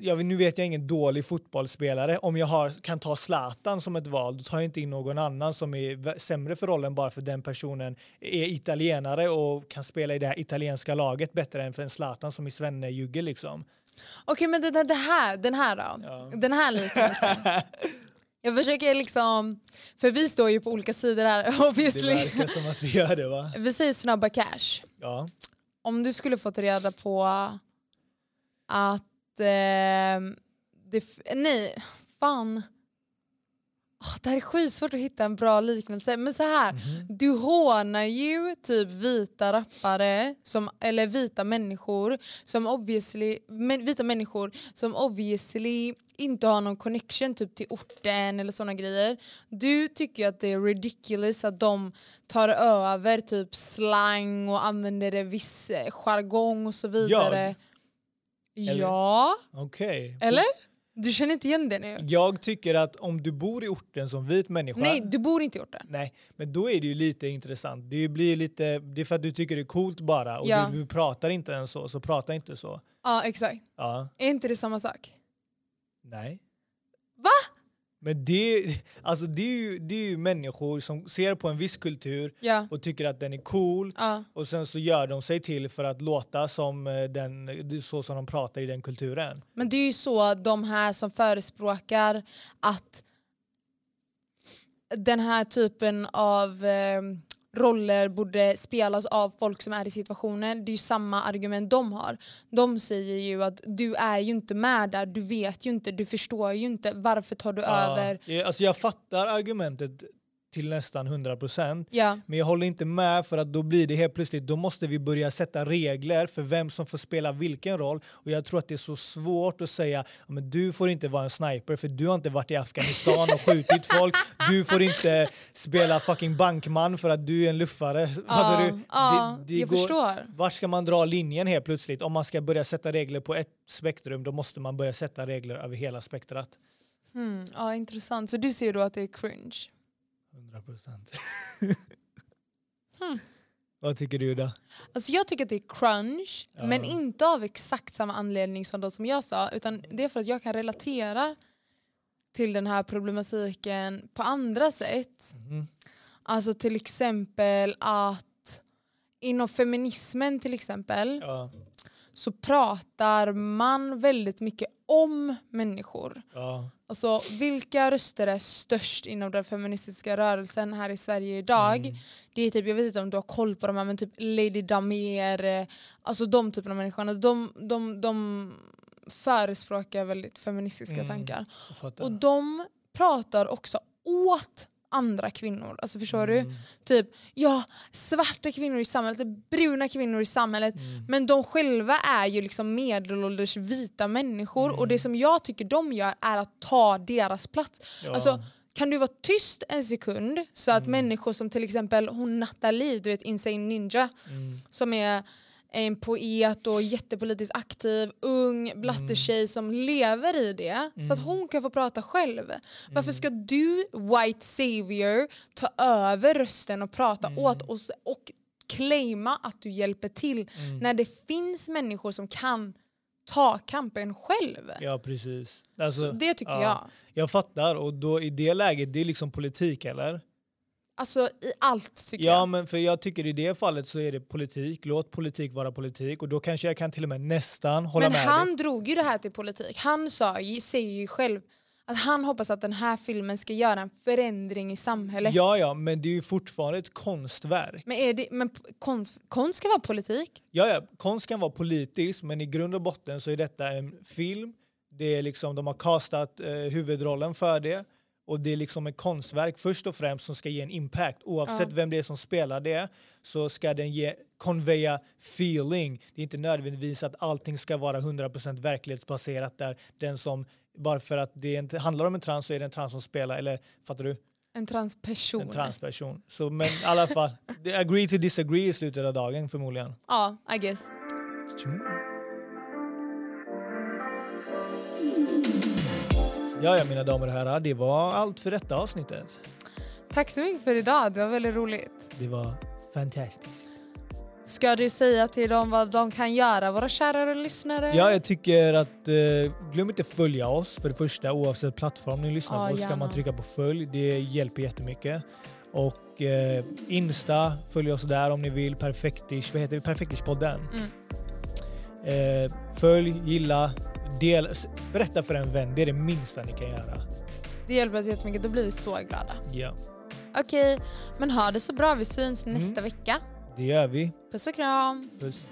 [SPEAKER 1] jag, vet- nu vet jag ingen dålig fotbollsspelare. Om jag har, kan ta Zlatan som ett val, då tar jag inte in någon annan som är vä- sämre för rollen bara för den personen är italienare och kan spela i det här italienska laget bättre än för en Zlatan som är svennejugge liksom.
[SPEAKER 2] Okej men det, det, det här, den här då? Den här liknelsen. Jag försöker liksom, för vi står ju på olika sidor här
[SPEAKER 1] Det
[SPEAKER 2] obviously.
[SPEAKER 1] verkar som att vi gör det va?
[SPEAKER 2] Vi säger snabba cash.
[SPEAKER 1] Ja.
[SPEAKER 2] om du skulle fått reda på att... Eh, det, f- nej, fan. Åh, det här är skitsvårt att hitta en bra liknelse. Men så här, du hånar ju typ vita rappare, som, eller vita människor, som obviously, men, vita människor som obviously inte har någon connection typ till orten eller såna grejer. Du tycker ju att det är ridiculous att de tar över typ slang och använder en viss eh, jargong och så vidare.
[SPEAKER 1] Eller-
[SPEAKER 2] Ja,
[SPEAKER 1] Okej.
[SPEAKER 2] eller? Du känner inte igen det nu?
[SPEAKER 1] Jag tycker att om du bor i orten som vit människa
[SPEAKER 2] Nej, du bor inte i orten.
[SPEAKER 1] Nej, men då är det ju lite intressant. Det blir ju lite, det är för att du tycker det är coolt bara och
[SPEAKER 2] Ja.
[SPEAKER 1] du, du pratar inte ens så, så prata inte så.
[SPEAKER 2] Ja, exakt.
[SPEAKER 1] Ja,
[SPEAKER 2] Är inte det samma sak?
[SPEAKER 1] nej.
[SPEAKER 2] Va?
[SPEAKER 1] Men det, alltså det, är ju, det är ju människor som ser på en viss kultur
[SPEAKER 2] Ja.
[SPEAKER 1] och tycker att den är cool
[SPEAKER 2] Ja.
[SPEAKER 1] och sen så gör de sig till för att låta som eh, den, det är så som de pratar i den kulturen.
[SPEAKER 2] Men det är ju så de här som förespråkar att den här typen av eh, roller borde spelas av folk som är i situationen. Det är ju samma argument de har. De säger ju att du är ju inte med där, du vet ju inte, du förstår ju inte. Varför tar du över?
[SPEAKER 1] Ja, eh, alltså jag fattar argumentet till nästan 100 procent.
[SPEAKER 2] Ja.
[SPEAKER 1] Men jag håller inte med för att då blir det helt plötsligt, då måste vi börja sätta regler för vem som får spela vilken roll. Och jag tror att det är så svårt att säga, "Ja, men du får inte vara en sniper för du har inte varit i Afghanistan och skjutit folk. Du får inte spela fucking bankman för att du är en luffare. Fattar du?
[SPEAKER 2] ja, jag förstår.
[SPEAKER 1] Vart ska man dra linjen helt plötsligt? Om man ska börja sätta regler på ett spektrum då måste man börja sätta regler över hela spektrat.
[SPEAKER 2] Mm, ja, intressant. Så du ser då att det är cringe?
[SPEAKER 1] 100 procent.
[SPEAKER 2] Hmm.
[SPEAKER 1] Vad tycker du då?
[SPEAKER 2] Alltså jag tycker att det är crunch,
[SPEAKER 1] Ja.
[SPEAKER 2] men inte av exakt samma anledning som de som jag sa.
[SPEAKER 1] Mm.
[SPEAKER 2] Utan det är för att jag kan relatera till den här problematiken på andra sätt.
[SPEAKER 1] Mm-hmm.
[SPEAKER 2] Alltså till exempel att inom feminismen till exempel
[SPEAKER 1] Ja.
[SPEAKER 2] så pratar man väldigt mycket om människor.
[SPEAKER 1] Ja.
[SPEAKER 2] Alltså, vilka röster är störst inom den feministiska rörelsen här i Sverige idag? Det är typ, jag vet inte om du har koll på de här, men typ Lady Damer, eh, alltså de typen av människorna, de, de, de förespråkar väldigt feministiska
[SPEAKER 1] Mm,
[SPEAKER 2] tankar.
[SPEAKER 1] jag fattar.
[SPEAKER 2] Och de pratar också åt andra kvinnor, alltså förstår du? Typ, ja, svarta kvinnor i samhället, bruna kvinnor i samhället, men de själva är ju liksom medelålders vita människor och det som jag tycker de gör är att ta deras plats.
[SPEAKER 1] Ja.
[SPEAKER 2] Alltså, kan du vara tyst en sekund så att människor som till exempel hon Nathalie, du vet Insane Ninja, som är en poet och jättepolitiskt aktiv, ung
[SPEAKER 1] Mm.
[SPEAKER 2] blattetjej som lever i det så att hon kan få prata själv. Varför
[SPEAKER 1] Mm.
[SPEAKER 2] ska du, white savior, ta över rösten och prata
[SPEAKER 1] Mm.
[SPEAKER 2] åt oss och claima att du hjälper till
[SPEAKER 1] Mm.
[SPEAKER 2] när det finns människor som kan ta kampen själv?
[SPEAKER 1] Ja, precis. Alltså,
[SPEAKER 2] Så det tycker jag.
[SPEAKER 1] Jag fattar. Och då i det läget, det är liksom politik eller?
[SPEAKER 2] Alltså i allt tycker
[SPEAKER 1] Ja,
[SPEAKER 2] jag.
[SPEAKER 1] men för jag tycker i det fallet så är det politik. Låt politik vara politik. Och då kanske jag kan till och med nästan hålla
[SPEAKER 2] men
[SPEAKER 1] med
[SPEAKER 2] han
[SPEAKER 1] dig.
[SPEAKER 2] drog ju det här till politik. Han sa, ju- säger ju själv att han hoppas att den här filmen ska göra en förändring i samhället.
[SPEAKER 1] Ja, ja, men det är ju fortfarande ett konstverk.
[SPEAKER 2] Men, är det, men p- konst, konst ska vara politik.
[SPEAKER 1] Ja, ja, konst kan vara politisk, men i grund och botten så är detta en film. Det är liksom, de har castat eh, huvudrollen för det. Och det är liksom ett konstverk först och främst som ska ge en impact. Oavsett vem det är som spelar det så ska den ge, conveya feeling. Det är inte nödvändigtvis att allting ska vara 100% verklighetsbaserat där den som, bara för att det inte handlar om en trans så är det en trans som spelar, eller fattar du?
[SPEAKER 2] En transperson.
[SPEAKER 1] En transperson. Så men i alla fall, det- agree to disagree i slutet av dagen förmodligen.
[SPEAKER 2] Ja, I guess.
[SPEAKER 1] Ja, ja, mina damer och herrar, det var allt för detta avsnittet.
[SPEAKER 2] Tack så mycket för idag, det var väldigt roligt.
[SPEAKER 1] Det var fantastiskt.
[SPEAKER 2] Ska du säga till dem vad de kan göra, våra kära lyssnare?
[SPEAKER 1] Ja, jag tycker att eh, glöm inte att följa oss för det första. Oavsett plattform ni lyssnar
[SPEAKER 2] Ja,
[SPEAKER 1] på ska man
[SPEAKER 2] gärna.
[SPEAKER 1] trycka på följ. Det hjälper jättemycket. Och eh, Insta, följ oss där om ni vill. Perfektish, vad heter vi? Perfektish-podden.
[SPEAKER 2] Mm.
[SPEAKER 1] Eh, följ, gilla, del, s- berätta för en vän. Det är det minsta ni kan göra.
[SPEAKER 2] Det hjälper oss jättemycket, då blir vi så glada.
[SPEAKER 1] Ja, Mm.
[SPEAKER 2] Okej, men ha det så bra, vi syns nästa vecka.
[SPEAKER 1] det gör vi.
[SPEAKER 2] Puss och kram!
[SPEAKER 1] Puss.